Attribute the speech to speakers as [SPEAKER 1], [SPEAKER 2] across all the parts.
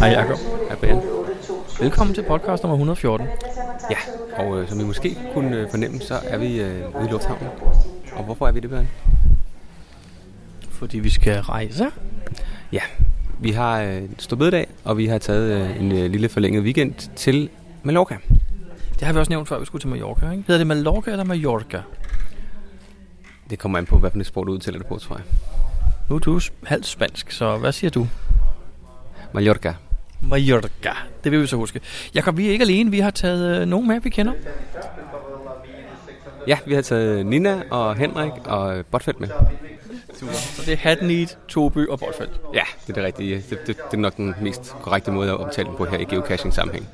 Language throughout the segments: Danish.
[SPEAKER 1] Hej Jacob.
[SPEAKER 2] Hej Brian.
[SPEAKER 1] Velkommen til podcast nummer 114.
[SPEAKER 2] Ja, og øh, som I måske kunne øh, fornemme, så er vi øh, ude i lufthavnen. Og hvorfor er vi det, Bjørn?
[SPEAKER 1] Fordi vi skal rejse.
[SPEAKER 2] Ja, vi har øh, stået dag, og vi har taget øh, en øh, lille forlænget weekend til Mallorca.
[SPEAKER 1] Det har vi også nævnt før, vi skulle til Mallorca. Ikke? Hedder det Mallorca eller Mallorca?
[SPEAKER 2] Det kommer an på, hvad for et sprog du udtaler det på, tror jeg.
[SPEAKER 1] Nu er du sp- halvt spansk, så hvad siger du?
[SPEAKER 2] Mallorca.
[SPEAKER 1] Mallorca. Det vil vi så huske. Jakob, vi er ikke alene. Vi har taget øh, nogen med, vi kender.
[SPEAKER 2] Ja, vi har taget Nina og Henrik og øh, Botfeldt med.
[SPEAKER 1] Så det er Hattenit, Toby og Bortfeldt.
[SPEAKER 2] Ja, det er det rigtige. Det, det, det er nok den mest korrekte måde at omtale dem på her i geocaching-sammenhæng.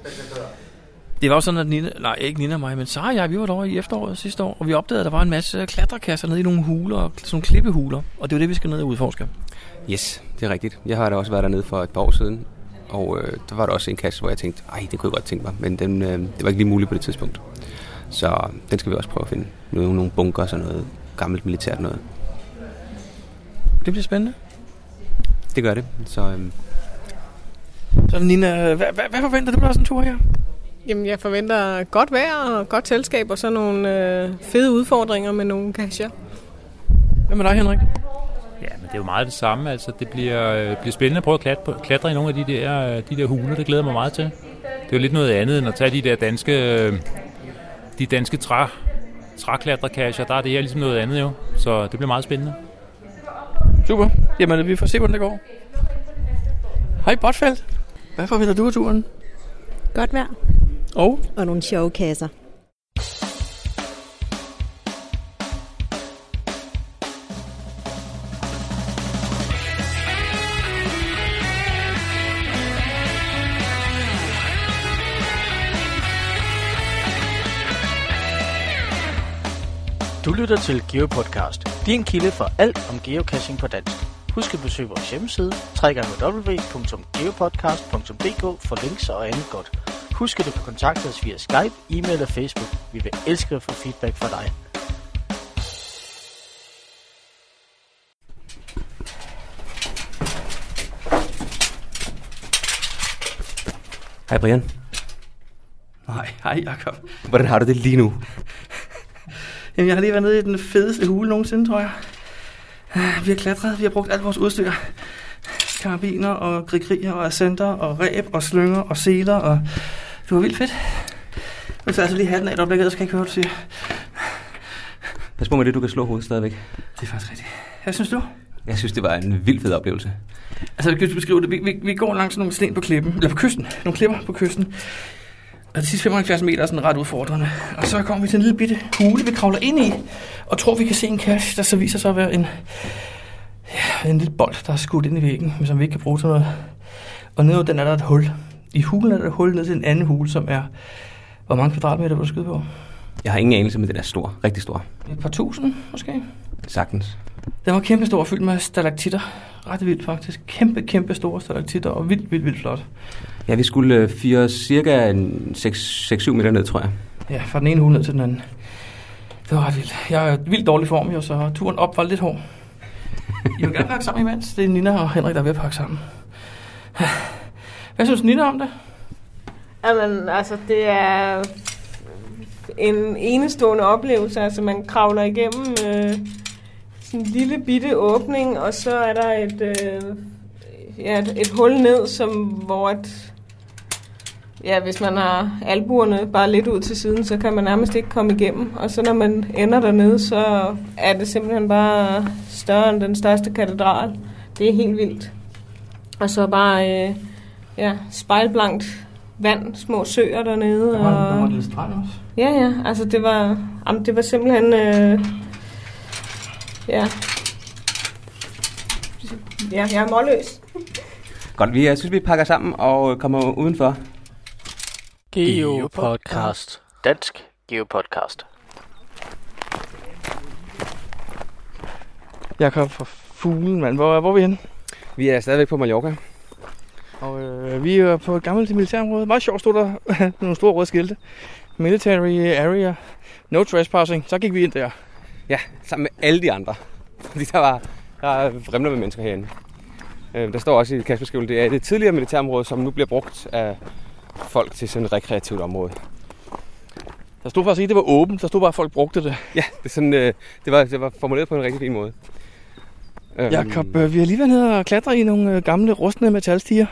[SPEAKER 1] Det var jo sådan, at Nina, nej, ikke Nina og mig, men Sara og jeg, vi var derovre i efteråret sidste år, og vi opdagede, at der var en masse klatrekasser nede i nogle huler, sådan nogle klippehuler, og det er jo det, vi skal ned og udforske.
[SPEAKER 2] Yes, det er rigtigt. Jeg har da også været dernede for et par år siden, og øh, der var der også en kasse, hvor jeg tænkte, ej, det kunne jeg godt tænke mig, men den, øh, det var ikke lige muligt på det tidspunkt. Så øh, den skal vi også prøve at finde. Nogle, nogle bunker og sådan noget gammelt militært noget.
[SPEAKER 1] Det bliver spændende.
[SPEAKER 2] Det gør det. Så øh,
[SPEAKER 1] Så Nina, hvad, hvad, hvad forventer du dig af sådan en tur her?
[SPEAKER 3] Jamen, jeg forventer godt vejr og godt selskab og så nogle øh, fede udfordringer med nogle kasser.
[SPEAKER 1] Hvad med dig, Henrik?
[SPEAKER 4] Ja, men det er jo meget det samme. Altså, det bliver, øh, bliver spændende at prøve at klatre, på, klatre i nogle af de der, øh, de der huler. Det glæder jeg mig meget til. Det er jo lidt noget andet end at tage de der danske, øh, de danske træ, træklatrekasser. Der er det her ligesom noget andet jo. Så det bliver meget spændende.
[SPEAKER 1] Super. Jamen, vi får se, hvordan det går. Hej, Botfeldt. Hvad forventer du af turen?
[SPEAKER 5] Godt vejr
[SPEAKER 1] Og?
[SPEAKER 5] og nogle sjove kasser.
[SPEAKER 6] Du lytter til GeoPodcast, din kilde for alt om geocaching på dansk. Husk at besøge vores hjemmeside, www.geopodcast.dk for links og andet godt. Husk at du kan kontakte os via Skype, e-mail og Facebook. Vi vil elske at få feedback fra dig.
[SPEAKER 2] hej Brian.
[SPEAKER 1] Nej, hej Jacob.
[SPEAKER 2] Hvordan har du det lige nu?
[SPEAKER 1] Jamen, jeg har lige været nede i den fedeste hule nogensinde, tror jeg. Ah, Vi har klatret, vi har brugt alt vores udstyr. Karabiner og grigrier og ascenter og ræb og slynger og seler og... Det var vildt fedt. Jeg tager altså lige hatten af et øjeblik, ellers kan jeg ikke høre, hvad du siger.
[SPEAKER 2] Pas på med det, du kan slå hovedet stadigvæk.
[SPEAKER 1] Det er faktisk rigtigt. Hvad synes du?
[SPEAKER 2] Jeg synes, det var en vild fed oplevelse.
[SPEAKER 1] Altså, jeg kan ikke beskrive det. Vi, vi, vi går langs nogle sten på klippen, eller på kysten. Nogle klipper på kysten. Og de sidste 75 meter er sådan ret udfordrende. Og så kommer vi til en lille bitte hule, vi kravler ind i, og tror, vi kan se en cache, der så viser sig at være en, ja, en lille bold, der er skudt ind i væggen, men som vi ikke kan bruge til noget. Og nede over den er der et hul. I hulen er der et hul ned til en anden hule, som er... Hvor mange kvadratmeter vil du skyde på?
[SPEAKER 2] Jeg har ingen anelse, men den er stor. Rigtig stor.
[SPEAKER 1] Et par tusind, måske?
[SPEAKER 2] Sagtens.
[SPEAKER 1] Den var kæmpestor og fyldt med stalaktitter. Ret vildt faktisk. Kæmpe, kæmpe store stalaktitter og vildt, vildt, vildt flot.
[SPEAKER 2] Ja, vi skulle øh, fire cirka en 6-7 meter ned, tror jeg.
[SPEAKER 1] Ja, fra den ene hule ned til den anden. Det var ret vildt. Jeg er i vildt dårlig form, jo, så turen op var lidt hård. I vil gerne pakke sammen imens. Det er Nina og Henrik, der er ved at pakke sammen. Hvad synes Nina om det?
[SPEAKER 3] Jamen, altså, det er en enestående oplevelse. Altså, man kravler igennem øh, sådan en lille bitte åbning, og så er der et, øh, ja, et, et hul ned, som, hvor at, ja, hvis man har albuerne bare lidt ud til siden, så kan man nærmest ikke komme igennem. Og så når man ender dernede, så er det simpelthen bare større end den største katedral. Det er helt vildt. Og så bare øh, ja, spejlblankt vand, små søer dernede.
[SPEAKER 1] Der var, der var
[SPEAKER 3] og...
[SPEAKER 1] en lille strand også.
[SPEAKER 3] Ja, ja, altså det var, jamen, det var simpelthen, øh, ja. ja, jeg er målløs.
[SPEAKER 2] Godt, vi, øh, jeg synes, vi pakker sammen og øh, kommer udenfor.
[SPEAKER 6] GeoPodcast. Dansk GeoPodcast.
[SPEAKER 1] Jakob for fuglen, mand. Hvor, hvor er vi henne?
[SPEAKER 2] Vi er stadigvæk på Mallorca.
[SPEAKER 1] Og øh, vi er på et gammelt militærområde. Meget sjovt stod der nogle store røde skilte. Military area. No trespassing. Så gik vi ind der.
[SPEAKER 2] Ja, sammen med alle de andre. Fordi der var Der fremler med mennesker herinde. Øh, Der står også i Kasperskolen, det er det tidligere militærområde, som nu bliver brugt af folk til sådan et rekreativt område.
[SPEAKER 7] Der stod faktisk ikke, det var åbent. Der stod bare, at folk brugte det.
[SPEAKER 2] Ja, det, er sådan, øh, det, var, det var formuleret på en rigtig fin måde. Øhm,
[SPEAKER 1] Jakob, øh, vi har lige været nede og klatre i nogle øh, gamle, rustne metalstiger.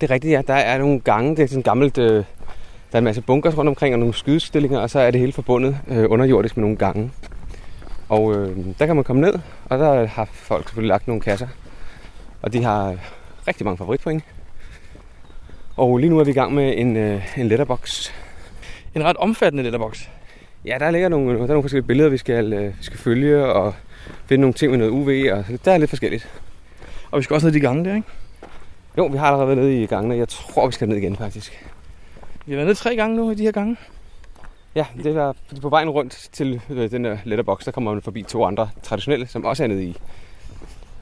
[SPEAKER 2] Det er rigtigt, ja. Der er nogle gange, det er sådan gammelt... Øh, der er en masse bunkers rundt omkring og nogle skydestillinger, og så er det hele forbundet øh, underjordisk med nogle gange. Og øh, der kan man komme ned, og der har folk selvfølgelig lagt nogle kasser. Og de har øh, rigtig mange favoritpoint. Og lige nu er vi i gang med en, øh, en letterbox.
[SPEAKER 1] En ret omfattende letterbox.
[SPEAKER 2] Ja, der ligger nogle, der er nogle forskellige billeder, vi skal, øh, vi skal følge, og finde nogle ting med noget UV, og der er lidt forskelligt.
[SPEAKER 1] Og vi skal også ned i de gange der, ikke?
[SPEAKER 2] Jo, vi har allerede været nede i gangene. Jeg tror, vi skal ned igen, faktisk.
[SPEAKER 1] Vi har været ned tre gange nu i de her gange.
[SPEAKER 2] Ja, det var på vejen rundt til øh, den der letterbox, der kommer man forbi to andre traditionelle, som også er nede i.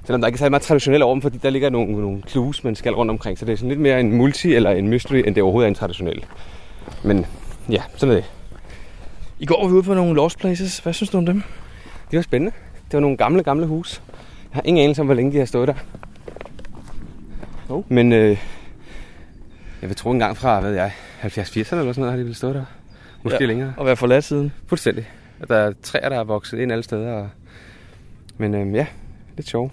[SPEAKER 2] Selvom der ikke er særlig meget traditionelle over dem, fordi der ligger nogle, nogle clues, man skal rundt omkring. Så det er sådan lidt mere en multi eller en mystery, end det overhovedet er en traditionel. Men ja, sådan er det.
[SPEAKER 1] I går var vi ude på nogle lost places. Hvad synes du om dem?
[SPEAKER 2] Det var spændende. Det var nogle gamle, gamle hus. Jeg har ingen anelse om, hvor længe de har stået der.
[SPEAKER 1] Hov.
[SPEAKER 2] Men øh, jeg vil tro engang fra, hvad ved jeg, 70-80'erne eller sådan noget, har de vel stået der. Måske
[SPEAKER 1] Ja.
[SPEAKER 2] ja. længere.
[SPEAKER 1] Og være forladt siden.
[SPEAKER 2] Fuldstændig. Og der er træer, der er vokset ind alle steder. Og... Men øhm, ja, lidt sjovt.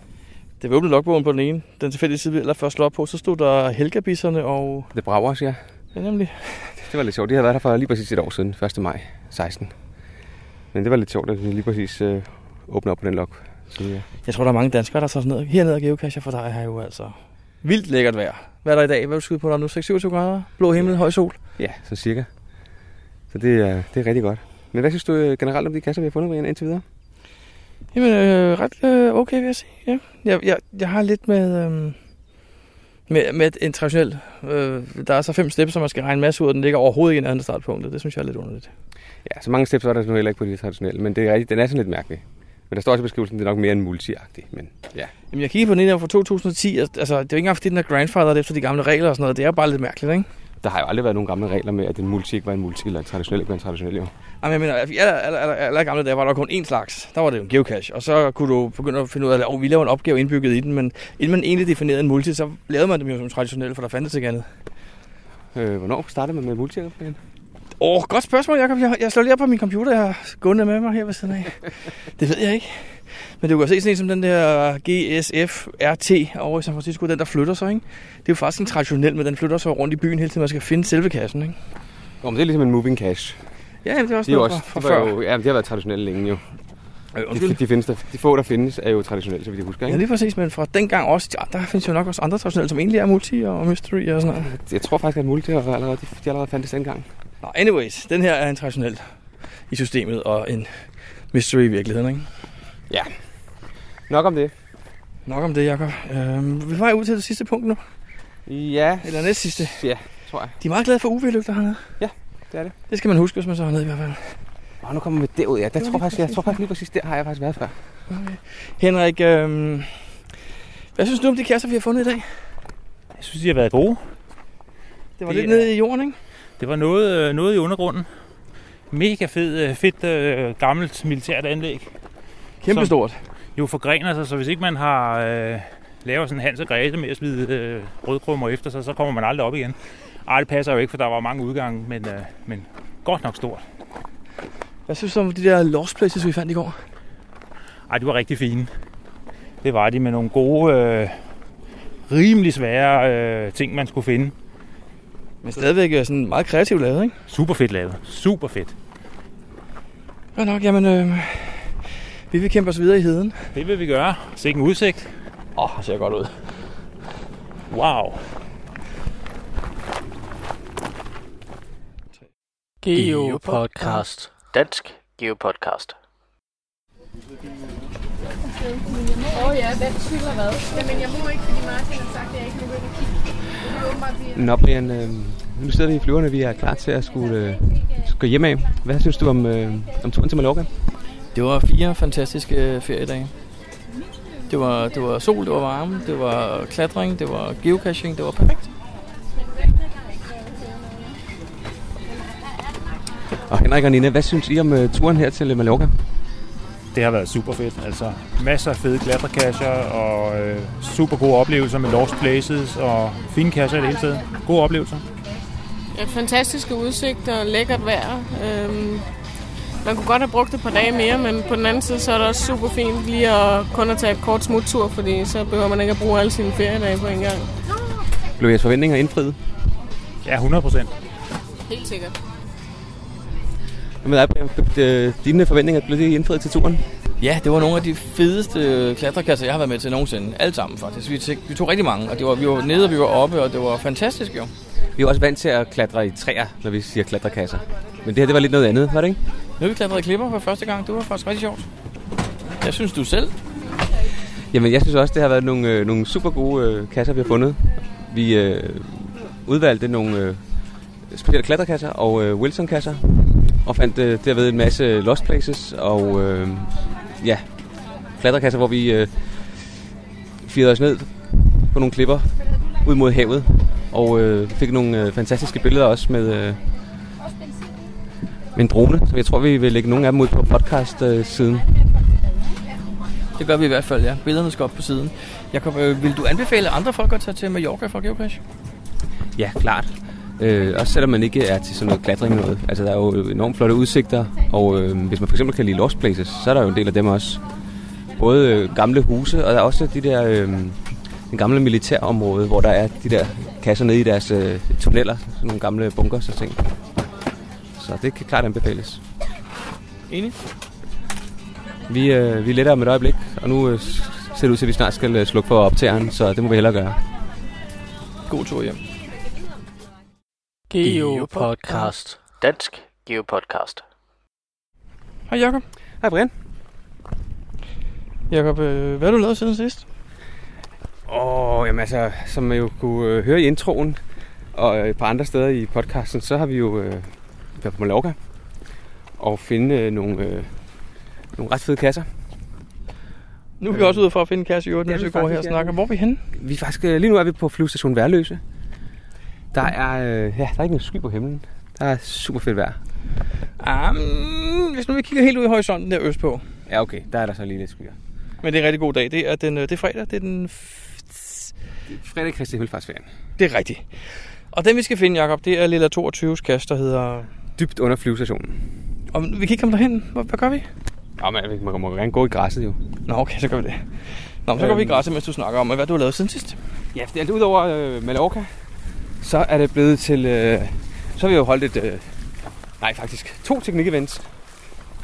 [SPEAKER 1] Det var åbnet logbogen på den ene. Den tilfældige side, vi eller først slog op på, så stod der Helgabisserne og...
[SPEAKER 2] Det brager også, ja.
[SPEAKER 1] Ja, nemlig.
[SPEAKER 2] Det var lidt sjovt. De havde været her for lige præcis et år siden, 1. maj 16. Men det var lidt sjovt, at vi lige præcis øh, åbnede op på den lok. Så, ja.
[SPEAKER 1] Jeg tror, der er mange danskere, der tager sådan ned. Hernede og geocacher, for der er jo altså vildt lækkert vejr. Hvad er der i dag? Hvad er du skyde på der nu? 26 grader? Blå himmel, høj sol?
[SPEAKER 2] ja, så cirka. Så det, øh, det er rigtig godt. Men hvad synes du øh, generelt om de kasser, vi har fundet, Brian, indtil videre?
[SPEAKER 1] Jamen, øh, ret øh, okay, vil jeg sige. Ja. Jeg, jeg, jeg har lidt med, øh, med, med en traditionel... Øh, der er så fem step, som man skal regne en masse ud, og den ligger overhovedet ikke i nærheden af startpunktet. Det synes jeg er lidt underligt.
[SPEAKER 2] Ja, så mange steps var der nu heller ikke på de traditionelle, men det er rigtigt, den er sådan lidt mærkelig. Men der står også i beskrivelsen, at det er nok mere en multi men ja.
[SPEAKER 1] Jamen, jeg kigger på den ene her fra 2010. og- Altså, det er jo ikke engang, fordi den er grandfathered efter de gamle regler og sådan noget. Det er bare lidt mærkeligt, ikke?
[SPEAKER 2] Der har jo aldrig været nogen gamle regler med, at en multi ikke var en multi, eller en traditionel ikke var en traditionel, jo.
[SPEAKER 1] Jamen, jeg mener, i aller, aller, aller, aller gamle dage var der kun én slags. Der var det jo en geocache. Og så kunne du begynde at finde ud af, at oh, vi laver en opgave indbygget i den. Men inden man egentlig definerede en multi, så lavede man dem jo som traditionelle, for der fandtes ikke andet.
[SPEAKER 2] Øh, hvornår startede man med multi Brian?
[SPEAKER 1] Åh, oh, godt spørgsmål, Jacob. Jeg, jeg slår lige op på min computer. Jeg har gående med mig her ved siden af. Det ved jeg ikke. Men du kan jo se sådan en som den der GSF RT over i San Francisco, den der flytter sig, ikke? Det er jo faktisk en traditionel, men den flytter sig rundt i byen hele tiden. Man skal finde selve kassen, ikke?
[SPEAKER 2] Nå, men det er ligesom en moving cache.
[SPEAKER 1] Ja, jamen, det er også
[SPEAKER 2] De, er jo
[SPEAKER 1] noget
[SPEAKER 2] også,
[SPEAKER 1] fra,
[SPEAKER 2] de,
[SPEAKER 1] fra
[SPEAKER 2] var
[SPEAKER 1] før.
[SPEAKER 2] jo, ja, men de har været traditionelle længe jo.
[SPEAKER 1] Øh, undskyld.
[SPEAKER 2] De, de, findes der, de få, der findes, er jo traditionelle, så vidt jeg husker.
[SPEAKER 1] Ja,
[SPEAKER 2] Ikke?
[SPEAKER 1] lige præcis, men fra dengang også, ja, der findes jo nok også andre traditionelle, som egentlig er multi og mystery og sådan noget.
[SPEAKER 2] Jeg tror faktisk, at multi har allerede, de, de allerede fandtes dengang.
[SPEAKER 1] Nå, anyways, den her er en traditionel i systemet og en mystery i virkeligheden, ikke?
[SPEAKER 2] Nok om det.
[SPEAKER 1] Nok om det, Jacob. Øh, vi er på vej ud til det sidste punkt nu,
[SPEAKER 2] Ja,
[SPEAKER 1] eller næst sidste.
[SPEAKER 2] ja, tror jeg.
[SPEAKER 1] De er meget glade for UV-lygter hernede.
[SPEAKER 2] Ja, det er det.
[SPEAKER 1] Det skal man huske, hvis man så er nede i hvert fald.
[SPEAKER 2] Og nu kommer vi derud, ja. Der tror jeg, faktisk, jeg tror faktisk lige præcis, der har jeg faktisk været før.
[SPEAKER 1] Henrik, øh, hvad synes du om de kasser, vi har fundet i dag?
[SPEAKER 4] Jeg synes, de har været gode.
[SPEAKER 1] Det var
[SPEAKER 4] Det
[SPEAKER 1] lidt
[SPEAKER 4] er-
[SPEAKER 1] nede i jorden, ikke?
[SPEAKER 4] Det var noget, øh, noget i undergrunden. Mega fed, øh, fedt øh, gammelt militært anlæg.
[SPEAKER 1] Kæmpestort.
[SPEAKER 4] jo forgrener sig, så hvis ikke man har øh, lavet sådan en Hans og Grete med at smide øh, rødkrummer efter sig, så kommer man aldrig op igen. Ej, det passer jo ikke, for der var mange udgange, men, øh, men godt nok stort.
[SPEAKER 1] Hvad synes du om de der lost places, vi fandt i går?
[SPEAKER 4] Ej, de var rigtig fine. Det var de med nogle gode, øh, rimelig svære øh, ting, man skulle finde.
[SPEAKER 1] Men stadigvæk er sådan meget kreativt lavet, ikke?
[SPEAKER 4] Super fedt lavet. Super fedt.
[SPEAKER 1] Godt nok, jamen øh, vi vil kæmpe os videre i heden.
[SPEAKER 4] Det vil vi gøre. Sikke en udsigt.
[SPEAKER 1] Åh, oh, ser godt ud.
[SPEAKER 4] Wow.
[SPEAKER 6] Geopodcast. Dansk Geopodcast.
[SPEAKER 2] Nå, Brian, øh, nu sidder vi i flyverne, vi er klar til at skulle, øh, skulle gå hjem af. Hvad synes du om, øh, om turen til Mallorca?
[SPEAKER 1] Det var fire fantastiske øh, feriedage. Det var, det var sol, det var varme, det var klatring, det var geocaching, det var perfekt.
[SPEAKER 2] Og Henrik og Nina, hvad synes I om øh, turen her til øh, Mallorca?
[SPEAKER 4] det har været super fedt. Altså masser af fede klatrekasser og øh, super gode oplevelser med lost places og fine kasser i det hele taget. Gode oplevelser.
[SPEAKER 3] Ja, fantastiske udsigter og lækkert vejr. Øhm, man kunne godt have brugt et par dage mere, men på den anden side, så er det også super fint lige at kun at tage et kort smuttur, fordi så behøver man ikke at bruge alle sine feriedage på en gang.
[SPEAKER 2] Blev jeres forventninger indfriet?
[SPEAKER 4] Ja, 100 procent.
[SPEAKER 3] Helt sikkert.
[SPEAKER 2] Hvad med dig, Brian? Øh, Dine forventninger, blev de indfriet til turen?
[SPEAKER 8] Ja, det var nogle af de fedeste øh, klatrekasser, jeg har været med til nogensinde. Alle sammen faktisk. Vi, tog, vi tog rigtig mange, og det var, vi var nede, og vi var oppe, og det var fantastisk jo.
[SPEAKER 2] Vi er jo også vant til at klatre i træer, når vi siger klatrekasser. Men det her, det var lidt noget andet, var det ikke?
[SPEAKER 8] Nu har vi klatret i klipper for første gang. Det var faktisk rigtig sjovt. Jeg synes du selv.
[SPEAKER 2] Jamen, jeg synes også, det har været nogle, øh, nogle super gode øh, kasser, vi har fundet. Vi øh, udvalgte nogle øh, specielle klatrekasser og øh, Wilson-kasser, og fandt øh, derved en masse lost places, og øh, ja, klatrekasser, hvor vi øh, firede os ned på nogle klipper ud mod havet, og øh, fik nogle øh, fantastiske billeder også med, øh, med en drone, så jeg tror, vi vil lægge nogle af dem ud på øh, podcast-siden.
[SPEAKER 8] Det gør vi i hvert fald, ja. Billederne skal op på siden. Jakob, øh, vil du anbefale andre folk at tage til Mallorca for geocache?
[SPEAKER 2] Ja, klart. Øh, også selvom man ikke er til sådan noget klatring eller noget. Altså, der er jo enormt flotte udsigter, og øh, hvis man for eksempel kan lide Lost Places, så er der jo en del af dem også. Både øh, gamle huse, og der er også de der... Øh, den gamle militærområde, hvor der er de der kasser nede i deres øh, tunneller, sådan nogle gamle bunkers og ting. Så det kan klart anbefales.
[SPEAKER 8] Enig?
[SPEAKER 2] Vi, øh, vi letter om et øjeblik, og nu øh, ser det ud til, at vi snart skal øh, slukke for optageren, så det må vi hellere gøre.
[SPEAKER 8] God tur hjem.
[SPEAKER 6] Geopodcast. Dansk Geopodcast.
[SPEAKER 1] Hej Jakob.
[SPEAKER 2] Hej Brian.
[SPEAKER 1] Jakob, øh, hvad har du lavet siden sidst?
[SPEAKER 2] Åh, oh, jamen altså, som man jo kunne øh, høre i introen og øh, et par andre steder i podcasten, så har vi jo øh, været på Mallorca og finde øh, nogle, øh, nogle ret fede kasser.
[SPEAKER 1] Nu er vi også ude for at finde en kasse i øvrigt,
[SPEAKER 2] det er
[SPEAKER 1] mens
[SPEAKER 2] vi
[SPEAKER 1] Øh, vi går her og
[SPEAKER 2] faktisk, ja.
[SPEAKER 1] snakker. Hvor er vi henne?
[SPEAKER 2] Vi er faktisk, øh, lige nu er vi på flyvestation Værløse. Der er, øh, ja, der er ikke noget sky på himlen. Der er super fedt vejr.
[SPEAKER 1] Ah, mm, hvis nu vi kigger helt ud i horisonten der østpå.
[SPEAKER 2] Ja, okay, der er der så lige lidt skyer.
[SPEAKER 1] Men det er en rigtig god dag. Det er, den, øh, det er fredag. Det er den... f-
[SPEAKER 2] Fredag Kristi Himmelfartsferien.
[SPEAKER 1] Det er rigtigt. Og den vi skal finde, Jakob, det er Lilla 22's kast, der hedder...
[SPEAKER 2] Dybt under flyvestationen.
[SPEAKER 1] Og vi kan ikke komme derhen. Hvad, hvad gør vi?
[SPEAKER 2] Nå, man, man må gerne gå i græsset jo.
[SPEAKER 1] Nå, okay, så gør vi det. Nå, men så går vi i
[SPEAKER 2] Øhm.
[SPEAKER 1] græsset, mens du snakker om, hvad du har lavet siden sidst.
[SPEAKER 2] Ja, det er udover øh, Mallorca, så er det blevet til... Øh, så har vi jo holdt et... Øh, nej, faktisk to teknikevents.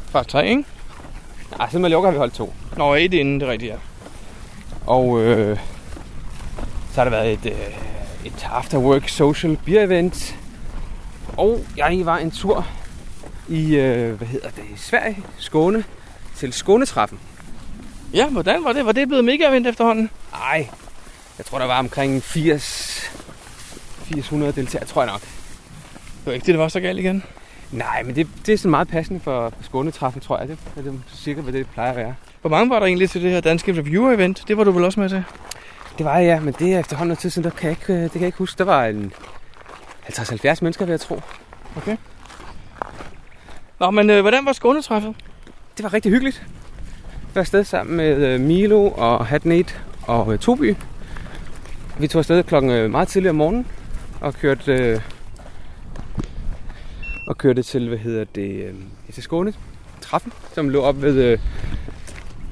[SPEAKER 1] Faktisk tre, ikke?
[SPEAKER 2] Nej, siden Mallorca har vi holdt to.
[SPEAKER 1] Nå, et inden, det er rigtigt, ja.
[SPEAKER 2] Og øh, så har der været et, øh, et afterwork social beer event. Og jeg var en tur i, øh, hvad hedder det, Sverige, Skåne, til Skånetræffen.
[SPEAKER 1] Ja, hvordan var det? Var det blevet mega event efterhånden?
[SPEAKER 2] Ej, jeg tror der var omkring 80, 400 deltagere, tror jeg nok.
[SPEAKER 1] Det var ikke det, det var så galt igen.
[SPEAKER 2] Nej, men det, det er sådan meget passende for Skånetræffen, tror jeg. Det er det cirka, hvad det plejer at være.
[SPEAKER 1] Hvor mange var der egentlig til det her danske reviewer-event? Det var du vel også med til?
[SPEAKER 2] Det var jeg, ja, men det er efterhånden noget tid siden, der kan jeg ikke, øh, det kan jeg ikke huske. Der var en 50-70 mennesker, vil jeg tro.
[SPEAKER 1] Nå, men øh, hvordan var skånetræffet?
[SPEAKER 2] det var rigtig hyggeligt. Jeg var afsted sammen med øh, Milo og Hatnate og øh, Toby. Vi tog afsted klokken øh, meget tidligt om morgenen og kørte, øh, og kørte til, hvad hedder det, øh, ja, til Skåne, traffen, som lå op ved... Øh,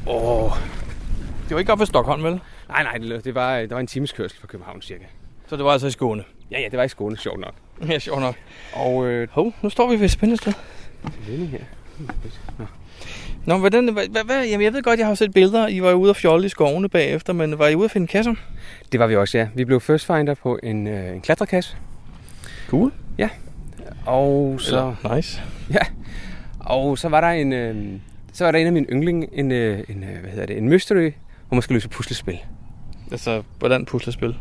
[SPEAKER 2] åh,
[SPEAKER 1] Det var ikke op ved Stockholm, vel?
[SPEAKER 2] nej, nej, det, lå- det var, øh, der var en times kørsel fra København cirka.
[SPEAKER 1] Så det var altså i Skåne.
[SPEAKER 2] Ja, ja, det var i Skåne, sjovt nok.
[SPEAKER 1] Ja, sjovt nok.
[SPEAKER 2] Og øh,
[SPEAKER 1] Hov, nu står vi ved et spændende sted.
[SPEAKER 2] denne her.
[SPEAKER 1] Nå, hvordan, hvad, hvad, hvad, jamen, jeg ved godt, jeg har set billeder. I var jo ude og fjolle i skovene bagefter, men var I ude at finde kasser?
[SPEAKER 2] Det var vi også, ja. Vi blev first finder på en, øh, en klatrekasse.
[SPEAKER 1] Cool.
[SPEAKER 2] Ja. Og så...
[SPEAKER 1] nice.
[SPEAKER 2] Og så var der en, øh, så var der en af mine yndling, en, øh, en, øh, hvad hedder det, en mystery, hvor man skal løse puslespil.
[SPEAKER 1] Altså, hvordan puslespil?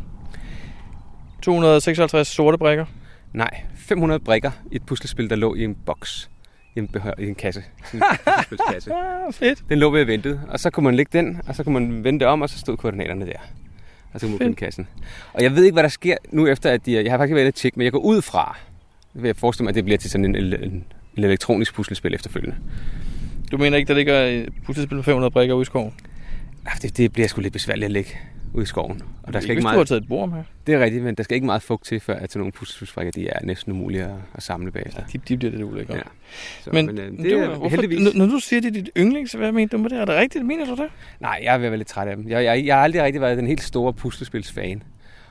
[SPEAKER 1] 256 sorte brækker.
[SPEAKER 2] Nej, 500 brikker i et puslespil, der lå i en boks. I en, behør, i en kasse. Sådan en puslespilskasse.
[SPEAKER 1] Ah, fedt.
[SPEAKER 2] Den lå ved at vente, og så kunne man lægge den, og så kunne man vende det om, og så stod koordinaterne der. Og så kunne man finde kassen. Og jeg ved ikke, hvad der sker nu efter, at de, jeg har faktisk ikke været inde at tjekke, men jeg går ud fra, ved at forestille mig, at det bliver til sådan en, en, en elektronisk puslespil efterfølgende.
[SPEAKER 1] Du mener ikke, der ligger et puslespil på 500 brikker ude i skoven?
[SPEAKER 2] Ah, Det, det bliver sgu lidt besværligt at lægge ude i skoven. Og der skal
[SPEAKER 1] Hvis
[SPEAKER 2] ikke
[SPEAKER 1] du
[SPEAKER 2] meget...
[SPEAKER 1] har taget et bord med.
[SPEAKER 2] Det er rigtigt, men der skal ikke meget fugt til, før at sådan nogle puslespilsbrækker, de er næsten umulige at, at samle bagefter.
[SPEAKER 1] de,
[SPEAKER 2] Ja,
[SPEAKER 1] de bliver det ulækkert.
[SPEAKER 2] Ja. Så,
[SPEAKER 1] Men,
[SPEAKER 2] men, men øh,
[SPEAKER 1] det
[SPEAKER 2] det
[SPEAKER 1] du,
[SPEAKER 2] er
[SPEAKER 1] hvorfor,
[SPEAKER 2] heldigvis...
[SPEAKER 1] heldigvis. Når du siger, det er dit yndlings, hvad mener du med det? Er det rigtigt? Mener du det?
[SPEAKER 2] Nej, jeg er ved at være lidt træt af dem. Jeg, jeg, jeg har aldrig rigtig været den helt store puslespilsfan.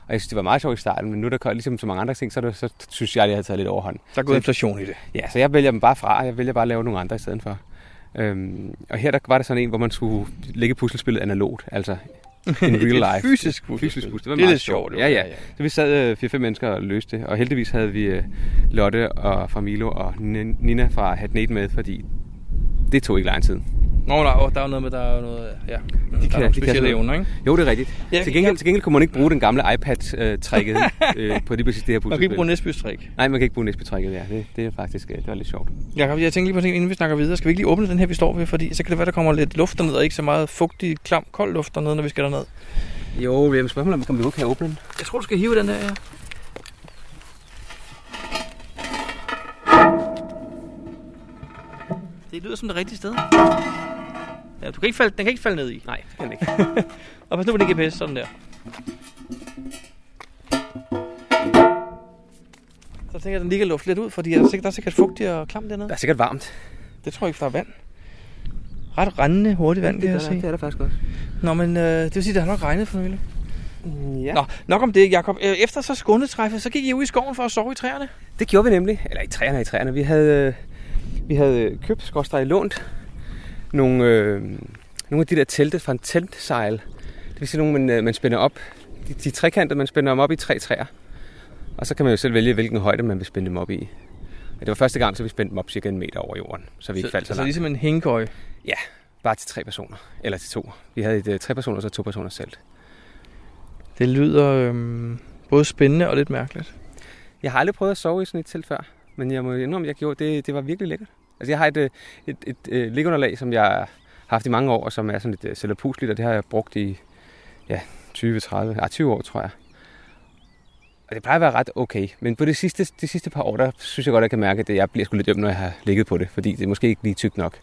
[SPEAKER 2] Og jeg synes, det var meget sjovt i starten, men nu er der kom- ligesom så mange andre ting, så, er der, så synes jeg, at jeg har taget lidt overhånd.
[SPEAKER 1] Der er gået
[SPEAKER 2] Så-
[SPEAKER 1] inflation i det.
[SPEAKER 2] Ja, så jeg vælger dem bare fra, og jeg vælger bare at lave nogle andre i stedet for. Øhm, og her der var der sådan en, hvor man skulle lægge puslespillet analogt, altså in real
[SPEAKER 1] Et
[SPEAKER 2] life.
[SPEAKER 1] fysisk puslespil.
[SPEAKER 2] fysisk puslespil. Det, var
[SPEAKER 1] Det er
[SPEAKER 2] meget
[SPEAKER 1] lidt sjovt, jo.
[SPEAKER 2] Ja,
[SPEAKER 1] Ja,
[SPEAKER 2] ja,
[SPEAKER 1] ja.
[SPEAKER 2] Så vi sad øh, 4-5 mennesker og løste det, og heldigvis havde vi øh, Lotte og, fra Milo og Nin- Nina fra Hatnet med, fordi det tog ikke lang tid.
[SPEAKER 1] Nå, nej, åh, der er jo noget med, der er jo noget, ja. De der er nogle specielle
[SPEAKER 2] sådan
[SPEAKER 1] evner,
[SPEAKER 2] noget.
[SPEAKER 1] ikke?
[SPEAKER 2] Jo, det er rigtigt.
[SPEAKER 1] Ja,
[SPEAKER 2] Ja, til, gengæld, til gengæld kunne man ikke bruge den gamle iPad-trækket øh, på lige præcis det her puslespil.
[SPEAKER 1] Man kan ikke bruge Nesby-træk.
[SPEAKER 2] Nej, man kan ikke bruge Nesby-trækket, ja. Det, det er faktisk øh, det var lidt sjovt.
[SPEAKER 1] Jakob, jeg tænker lige på en ting, inden vi snakker videre. Skal vi ikke lige åbne den her, vi står ved? Fordi så kan det være, der kommer lidt luft derned, og ikke så meget fugtig, klam, kold luft dernede, når vi skal derned.
[SPEAKER 2] Jo, det er spørgsmål, om vi kan åbne den.
[SPEAKER 1] Jeg tror, du skal hive den der, ja. Det lyder som det rigtige sted. Ja, du kan ikke falde, den kan ikke falde ned i.
[SPEAKER 2] Nej, det kan den
[SPEAKER 1] ikke. og pas nu på din GPS, sådan der. Så tænker jeg, at den ligger luft lidt ud, fordi der er sikkert, der er sikkert fugtigt og klamt dernede. Der
[SPEAKER 2] er sikkert varmt.
[SPEAKER 1] Det tror jeg ikke, der er vand. Ret rendende hurtigt vand,
[SPEAKER 2] Det
[SPEAKER 1] kan
[SPEAKER 2] er
[SPEAKER 1] jeg
[SPEAKER 2] der-
[SPEAKER 1] se.
[SPEAKER 2] det er der faktisk også.
[SPEAKER 1] Nå, men øh, det vil sige, det har nok regnet for nylig.
[SPEAKER 2] Ja.
[SPEAKER 1] Nå, nok om det, Jacob. Øh, Efter så skundetræffet, så gik I ud i skoven for at sove i træerne.
[SPEAKER 2] Det gjorde vi nemlig. Eller i træerne, i træerne. Vi havde, øh, vi havde øh, købt, skorstræk lånt, nogle, øh, nogle af de der telte fra en teltsejl. Det vil sige nogle, man, øh, man spænder op. De, de trekantede, man spænder dem op i tre træer. Og så kan man jo selv vælge, hvilken højde man vil spænde dem op i. Og det var første gang, så vi spændte dem op cirka en meter over jorden, så vi ikke faldt så,
[SPEAKER 1] så
[SPEAKER 2] langt.
[SPEAKER 1] ligesom en hængekøje.
[SPEAKER 2] Ja, bare til tre personer. Eller til to. Vi havde et øh, tre personer og så to personer selv.
[SPEAKER 1] Det lyder øhm, både spændende og lidt mærkeligt.
[SPEAKER 2] Jeg har aldrig prøvet at sove i sådan et telt før, men jeg må indrømme, at jeg gjorde det. Det var virkelig lækkert. Altså, jeg har et, øh, et, et, et liggeunderlag, som jeg har haft i mange år, og som er sådan lidt øh, cellulopuseligt, og det har jeg brugt i ja, 20-30, ah, 20 år, tror jeg. Og det plejer at være ret okay, men på de sidste, de sidste par år, der synes jeg godt, at jeg kan mærke, at jeg bliver sgu lidt øm, når jeg har ligget på det, fordi det er måske ikke lige tykt nok.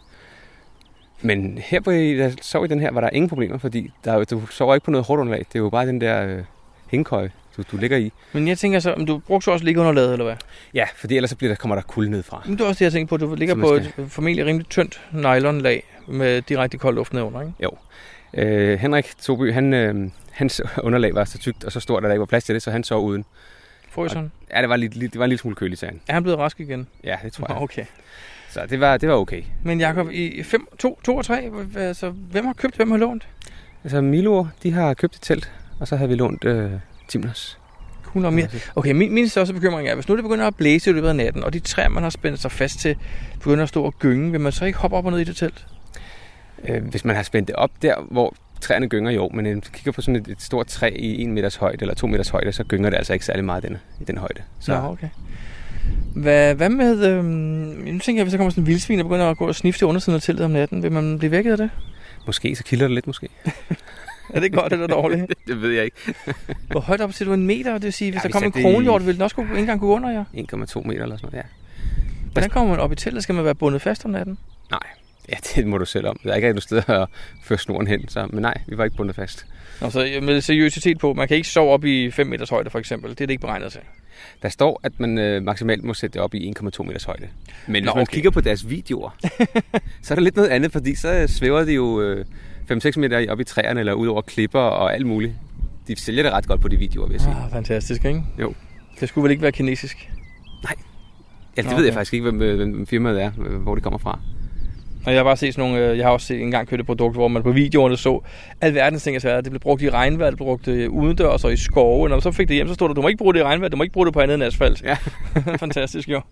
[SPEAKER 2] Men her, på, da jeg sov i den her, var der ingen problemer, fordi der, er jo- du sover ikke på noget hårdt underlag. Det er jo bare den der øh, hængekøje, du, du ligger i.
[SPEAKER 1] Men jeg tænker så, om du brugte så også liggeunderlaget, eller hvad?
[SPEAKER 2] Ja, fordi ellers så bliver der, kommer der kulde ned fra.
[SPEAKER 1] Men det er også det, jeg tænker på. Du ligger
[SPEAKER 2] Så
[SPEAKER 1] på
[SPEAKER 2] man
[SPEAKER 1] et øh, formentlig rimelig tyndt nylonlag med direkte kold luft nedenunder, ikke?
[SPEAKER 2] Jo. Øh, Henrik Toby, han, øh, hans underlag var så tykt og så stort, at der ikke var plads til det, så han sov uden.
[SPEAKER 1] Frøs han?
[SPEAKER 2] Og- Ja, det var, lidt, lidt- det var en lille smule kølig, sagde han.
[SPEAKER 1] Er han blevet rask igen?
[SPEAKER 2] Ja, det tror
[SPEAKER 1] Nå,
[SPEAKER 2] jeg.
[SPEAKER 1] Okay.
[SPEAKER 2] Så det var, det var okay.
[SPEAKER 1] Men Jacob, i 5, 2, 2 og 3, altså, hvem har købt, hvem har lånt?
[SPEAKER 2] Altså Milo, de har købt et telt, og så havde vi lånt øh, Timners.
[SPEAKER 1] Cool og mere. Okay, min, min største bekymring er, hvis nu det begynder at blæse i løbet af natten, og de træer, man har spændt sig fast til, begynder at stå og gynge, vil man så ikke hoppe op og ned i det telt?
[SPEAKER 2] Øh, hvis man har spændt det op der, hvor træerne gynger, jo, men øh, hvis man kigger på sådan et, et stort træ i 1 meters højde eller 2 meters højde, så gynger det altså ikke særlig meget i den, i den højde.
[SPEAKER 1] Så. Nå, okay. Hvad, hvad med, øhm, nu tænker jeg, hvis der kommer sådan en vildsvin, der begynder at gå og snifte i undersiden af teltet om natten, vil man blive vækket af det?
[SPEAKER 2] Måske, så kilder det lidt måske.
[SPEAKER 1] Er det godt eller dårligt?
[SPEAKER 2] det, det ved jeg ikke.
[SPEAKER 1] Hvor højt op siger du en meter, det vil sige, hvis der
[SPEAKER 2] Ja, vi
[SPEAKER 1] kommer en
[SPEAKER 2] satte det i-
[SPEAKER 1] kronhjort, vil den også kunne, ikke engang gå under jer?
[SPEAKER 2] 1,2 meter eller sådan noget, ja.
[SPEAKER 1] Hvordan kommer man op i teltet? Skal man være bundet fast om natten?
[SPEAKER 2] Nej, ja, det må du selv om. Der er ikke rigtig noget sted at føre snoren hen, så, men nej, vi var ikke bundet fast.
[SPEAKER 1] Nå, så øh, med seriøsitet på, man kan ikke sove op i 5 meters højde for eksempel, det er det ikke beregnet til.
[SPEAKER 2] Der står, at man øh, maksimalt må sætte det op i 1,2 meters højde.
[SPEAKER 1] Nå,
[SPEAKER 2] Men hvis man
[SPEAKER 1] okay.
[SPEAKER 2] kigger på deres videoer, så er der lidt noget andet, fordi så øh, svæver de jo øh, 5-6 meter op i træerne, eller ud over klipper og alt muligt. De sælger det ret godt på de videoer, vil jeg sige.
[SPEAKER 1] Ah, fantastisk, ikke?
[SPEAKER 2] Jo.
[SPEAKER 1] Det skulle vel ikke være kinesisk?
[SPEAKER 2] Ja, det
[SPEAKER 1] Nå,
[SPEAKER 2] ved jeg
[SPEAKER 1] okay.
[SPEAKER 2] faktisk ikke, hvem, øh, hvem firmaet er, øh, hvor det kommer fra.
[SPEAKER 1] Og jeg har bare set sådan nogle, øh, jeg har også set engang købt et produkt, hvor man på videoerne så alverdens ting og sager. Det blev brugt i regnvejr, det blev brugt øh, udendørs og i skove. Når man så fik det hjem, så stod der, du må ikke bruge det i regnvejr, du må ikke bruge det på andet end asfalt.
[SPEAKER 2] Ja.
[SPEAKER 1] Fantastisk jo. Nå,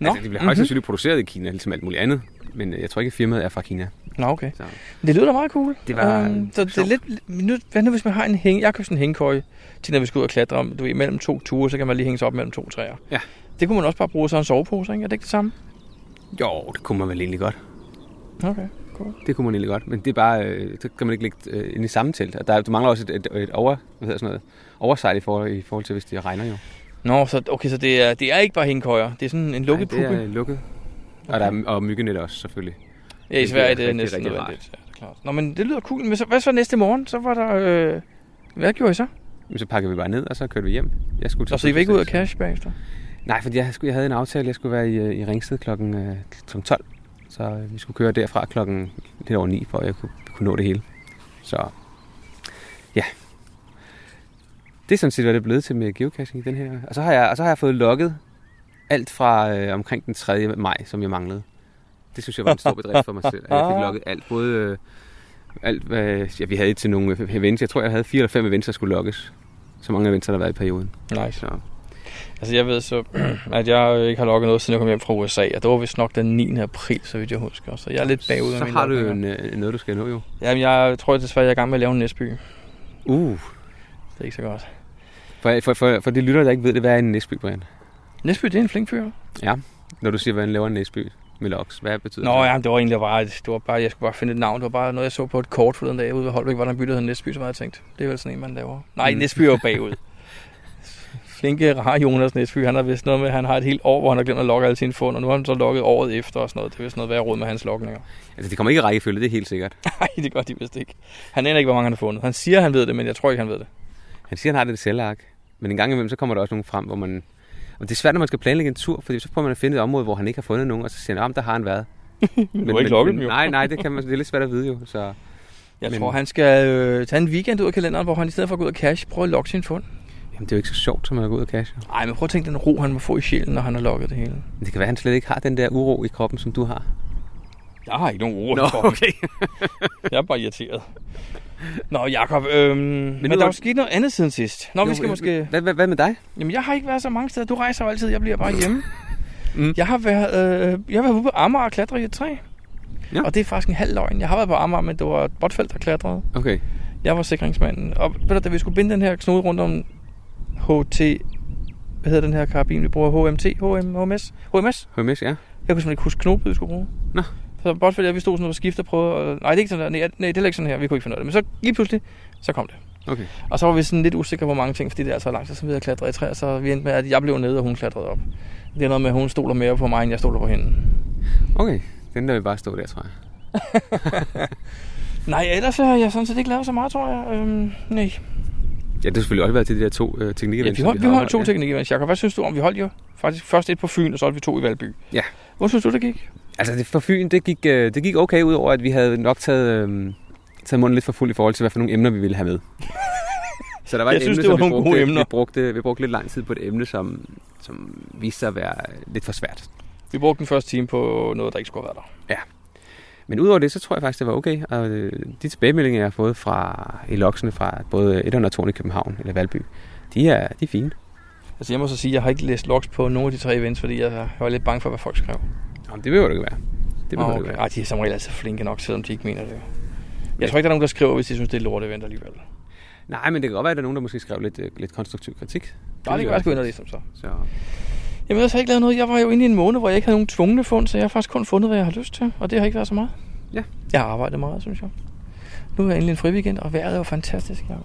[SPEAKER 1] Mhm.
[SPEAKER 2] Altså, de bliver højst sandsynligt produceret i Kina, ligesom alt muligt andet. Men øh, jeg tror ikke, at firmaet er fra Kina.
[SPEAKER 1] Nå, okay.
[SPEAKER 2] Så.
[SPEAKER 1] Det lyder da meget cool.
[SPEAKER 2] Det var,
[SPEAKER 1] Øhm, så det er lidt, nu, hvad nu hvis man har en hæng, jeg har købt sådan en hængkøje til, når vi skal ud og klatre om, du ved, mellem to ture, så kan man lige hænge sig op mellem to træer.
[SPEAKER 2] Ja.
[SPEAKER 1] Det kunne man også bare bruge som en sovepose, ikke? Er det ikke det samme?
[SPEAKER 2] Jo, det kunne man vel egentlig godt.
[SPEAKER 1] Okay, cool.
[SPEAKER 2] Det kunne man egentlig godt, men det er bare, øh, så kan man ikke ligge øh, inde i samme telt. Og der, er- du mangler også et, et, et over, hvad hedder sådan noget, oversight i forhold, i forhold til, hvis det regner jo.
[SPEAKER 1] Nå, så, okay, så det er, det er ikke bare hængkøjer. Det er sådan en lukket
[SPEAKER 2] Nej, det er
[SPEAKER 1] puppe.
[SPEAKER 2] lukket. Okay. Og, der er, og myggenet også, selvfølgelig.
[SPEAKER 1] Ja, i
[SPEAKER 2] Det
[SPEAKER 1] Sverige
[SPEAKER 2] er
[SPEAKER 1] det er
[SPEAKER 2] rigtig,
[SPEAKER 1] næsten
[SPEAKER 2] rigtig rart.
[SPEAKER 1] nødvendigt. Ja, det er klart. Nå, men det lyder cool. Men så, hvad så næste morgen? Så var der... Øh, hvad gjorde I så?
[SPEAKER 2] Jamen, Så pakkede vi bare ned, og så kørte vi hjem. Jeg skulle til
[SPEAKER 1] Nå, så I var ikke ud af
[SPEAKER 2] fødselsdag, så-
[SPEAKER 1] cash bagefter?
[SPEAKER 2] Nej, fordi jeg, skulle, jeg havde en aftale, jeg skulle være i, øh, i Ringsted kl. 12. Så øh, vi skulle køre derfra klokken lidt over 9, for at jeg kunne, kunne nå det hele. Så ja. Det er sådan set, hvad det er blevet til med geocaching i den her. Og så har jeg, og så har jeg fået logget alt fra øh, omkring den 3. maj, som jeg manglede. Det synes jeg var en stor bedrift for mig selv. at Jeg fik logget alt, både... Øh, alt, hvad, ja, vi havde til nogle øh, events. Jeg tror, jeg havde fire eller fem events, der skulle logges. Så mange events, der har været i perioden.
[SPEAKER 1] Nice.
[SPEAKER 2] Så,
[SPEAKER 1] Altså, jeg ved så, at jeg øh, ikke har logget noget, siden jeg kom hjem fra USA. Og det var vist nok den 9. april, så vidt jeg husker. Så jeg er lidt bagud af
[SPEAKER 2] Så
[SPEAKER 1] mine
[SPEAKER 2] har du jo
[SPEAKER 1] logninger.
[SPEAKER 2] en, øh, noget, du skal nå jo.
[SPEAKER 1] Jamen, jeg tror desværre, jeg er i gang med at lave en næstby.
[SPEAKER 2] Uh.
[SPEAKER 1] Det er ikke så godt.
[SPEAKER 2] For, for, for, for de lyttere, der ikke ved det, hvad er en næsby, Brian?
[SPEAKER 1] Næstby, det er en flink fyr.
[SPEAKER 2] Ja, når du siger, hvordan laver en næsby med loks, hvad betyder
[SPEAKER 1] Nå,
[SPEAKER 2] det?
[SPEAKER 1] ja, men det var egentlig bare, det var bare, jeg skulle bare finde et navn. Det var bare noget, jeg så på et kort forleden dag ude ved Holbæk, hvor der er en by, der hedder Næstby, så var jeg tænkt, det er vel sådan en, man laver. Nej,
[SPEAKER 2] Mm.
[SPEAKER 1] Næstby er jo bagud. Flinke, rar Jonas Næstby, han har vist noget med, at han har et helt år, hvor han har glemt at logge alle sine fund, og nu har han så logget året efter og sådan noget. Det er vist noget værd råd med hans logninger.
[SPEAKER 2] Altså, det kommer ikke i rækkefølge, det er helt sikkert.
[SPEAKER 1] Nej, det gør de vist ikke. Han aner ikke, hvor mange han har fundet. Han siger, han ved det, men jeg tror ikke, han ved det.
[SPEAKER 2] Han siger, han har det cellark, men en gang imellem, så kommer der også nogle frem, hvor man... Og det er svært, når man skal planlægge en tur, fordi så prøver man at finde et område, hvor han ikke har fundet nogen, og så siger han, om der har han været. men,
[SPEAKER 1] har ikke logget dem jo.
[SPEAKER 2] Nej, nej, det, kan man, det er lidt svært at vide jo. Så,
[SPEAKER 1] Jeg
[SPEAKER 2] Men-
[SPEAKER 1] tror, han skal øh, tage en weekend ud af kalenderen, hvor han i stedet for at gå ud og cash, prøve at logge sin fund.
[SPEAKER 2] jamen, det er jo ikke så sjovt, som at gå ud og cash.
[SPEAKER 1] Nej, men prøv at tænke den ro, han må få i sjælen, når han har logget det hele.
[SPEAKER 2] Men det kan være, at han slet ikke har den der uro i kroppen, som du har.
[SPEAKER 1] Jeg har ikke nogen ord.
[SPEAKER 2] Nå, okay.
[SPEAKER 1] jeg er bare irriteret. Nå, Jacob, øhm, men, men der er jo sket noget andet siden sidst. Nå, jo, øh, vi skal måske...
[SPEAKER 2] Hvad, hvad, hvad med dig?
[SPEAKER 1] Jamen, jeg har ikke været så mange steder. Du rejser jo altid, jeg bliver bare hjemme. Mm. Jeg har været, øh, jeg har været ude på Amager og klatre i et træ.
[SPEAKER 2] Ja.
[SPEAKER 1] Og det er faktisk en halv løgn. Jeg har været på Amager, men det var et botfelt, der klatrede.
[SPEAKER 2] Okay.
[SPEAKER 1] Jeg var sikringsmanden. Og ved du, da vi skulle binde den her knude rundt om HT... Hvad hedder den her karabin, vi bruger? HMT? HM, HMS? HMS?
[SPEAKER 2] HMS, ja.
[SPEAKER 1] Jeg kunne simpelthen ikke huske knopet, vi skulle bruge.
[SPEAKER 2] Nå.
[SPEAKER 1] Så bare fordi at vi stod sådan noget på skift og prøvede, og, nej, det er ikke sådan der, nej, nej, det er ikke sådan her, vi kunne ikke finde ud af det. Men så lige pludselig, så kom det.
[SPEAKER 2] Okay.
[SPEAKER 1] Og så var vi sådan lidt usikre på mange ting, fordi det er altså langt, så vi havde klatret i træer, så vi endte med, at jeg blev nede, og hun klatrede op. Det er noget med, at hun stoler mere på mig, end jeg stoler på hende.
[SPEAKER 2] Okay, den der vil bare stå der, tror jeg.
[SPEAKER 1] Nej, ellers så har jeg sådan set ikke lavet så meget, tror jeg. Øhm, nej.
[SPEAKER 2] Ja, det har selvfølgelig også været til de der to øh,
[SPEAKER 1] Ja,
[SPEAKER 2] teknikker.
[SPEAKER 1] vi holdt, vi holdt to teknikker, Jacob. Hvad synes du om? Vi holdt jo faktisk først et på Fyn, og så holdt vi to i Valby.
[SPEAKER 2] Ja.
[SPEAKER 1] Hvor synes du, det gik?
[SPEAKER 2] Altså det, for Fyn, det gik, øh, det gik okay, udover at vi havde nok taget, øh, taget munden lidt for fuld i forhold til, hvad for nogle emner vi ville have med. Så der var
[SPEAKER 1] Jeg
[SPEAKER 2] et
[SPEAKER 1] synes,
[SPEAKER 2] emne,
[SPEAKER 1] det var
[SPEAKER 2] som vi
[SPEAKER 1] nogle
[SPEAKER 2] brugte,
[SPEAKER 1] gode emner.
[SPEAKER 2] Vi brugte, vi brugte lidt lang tid på et emne, som, som viste sig at være lidt for svært.
[SPEAKER 1] Vi brugte den første time på noget, der ikke skulle have været der.
[SPEAKER 2] Men udover det, så tror jeg faktisk, det var okay. Og øh, de tilbagemeldinger, jeg har fået fra i loksene fra både 1 og 2 i København eller Valby, de er, de er fine.
[SPEAKER 1] Altså jeg må så sige, at jeg har ikke læst logs på nogen af de tre events, fordi jeg var lidt bange for, hvad folk skrev.
[SPEAKER 2] Jamen, det behøver det ikke være. Det behøver
[SPEAKER 1] Åh,
[SPEAKER 2] oh, okay.
[SPEAKER 1] okay.
[SPEAKER 2] det ikke
[SPEAKER 1] Ej, de er som regel altså flinke nok, selvom de ikke mener det. Jeg tror ikke, der er nogen, der skriver, hvis de synes, det er et lort event alligevel.
[SPEAKER 2] være. Nej, men det kan godt være, at der er nogen, der måske skrev lidt, øh, lidt konstruktiv kritik.
[SPEAKER 1] Nej, det
[SPEAKER 2] ville
[SPEAKER 1] kan jeg
[SPEAKER 2] være
[SPEAKER 1] sgu ind og læse
[SPEAKER 2] fint.
[SPEAKER 1] dem så.
[SPEAKER 2] Så
[SPEAKER 1] Jamen, ellers har jeg ikke lavet noget. Jeg var jo inde i en måned, hvor jeg ikke havde nogen tvungne fund, så jeg har faktisk kun fundet, hvad jeg har lyst til. Og det har ikke været så meget.
[SPEAKER 2] Ja.
[SPEAKER 1] Jeg har arbejdet meget, synes jeg. Nu er jeg endelig en fri weekend, og vejret er jo fantastisk. Jeg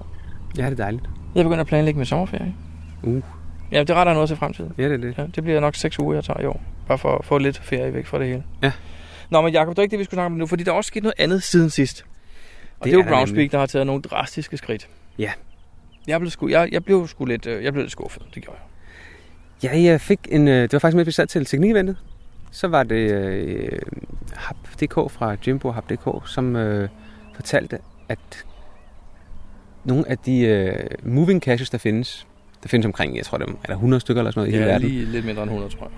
[SPEAKER 2] ja, det er dejligt.
[SPEAKER 1] jeg begynder at planlægge min sommerferie.
[SPEAKER 2] Uh.
[SPEAKER 1] Ja, det retter jeg noget til fremtiden.
[SPEAKER 2] Ja, det er det.
[SPEAKER 1] Ja, det bliver nok 6 uger, jeg tager i år. Bare for at få lidt ferie væk fra det hele.
[SPEAKER 2] Ja.
[SPEAKER 1] Nå, men Jacob, det er ikke det, vi skulle snakke om nu, fordi der er også sket noget andet siden sidst. Og det, det er
[SPEAKER 2] er
[SPEAKER 1] jo
[SPEAKER 2] der
[SPEAKER 1] Groundspeak,
[SPEAKER 2] nemlig.
[SPEAKER 1] der har taget nogle drastiske skridt.
[SPEAKER 2] Ja.
[SPEAKER 1] Jeg blev sgu, jeg, jeg blev sgu lidt, øh, jeg blev lidt skuffet, det gjorde jeg.
[SPEAKER 2] Jeg øh, fik en... Øh, det var faktisk med, at vi sad til teknikeventet. Så var det øh, Hub.dk fra Jimbo Hub.dk, som øh, fortalte, at nogle af de øh, moving caches, der findes, der findes omkring, jeg tror, det er er der 100 stykker eller sådan noget i hele
[SPEAKER 1] jeg er
[SPEAKER 2] verden,
[SPEAKER 1] lige lidt mindre end 100, tror jeg.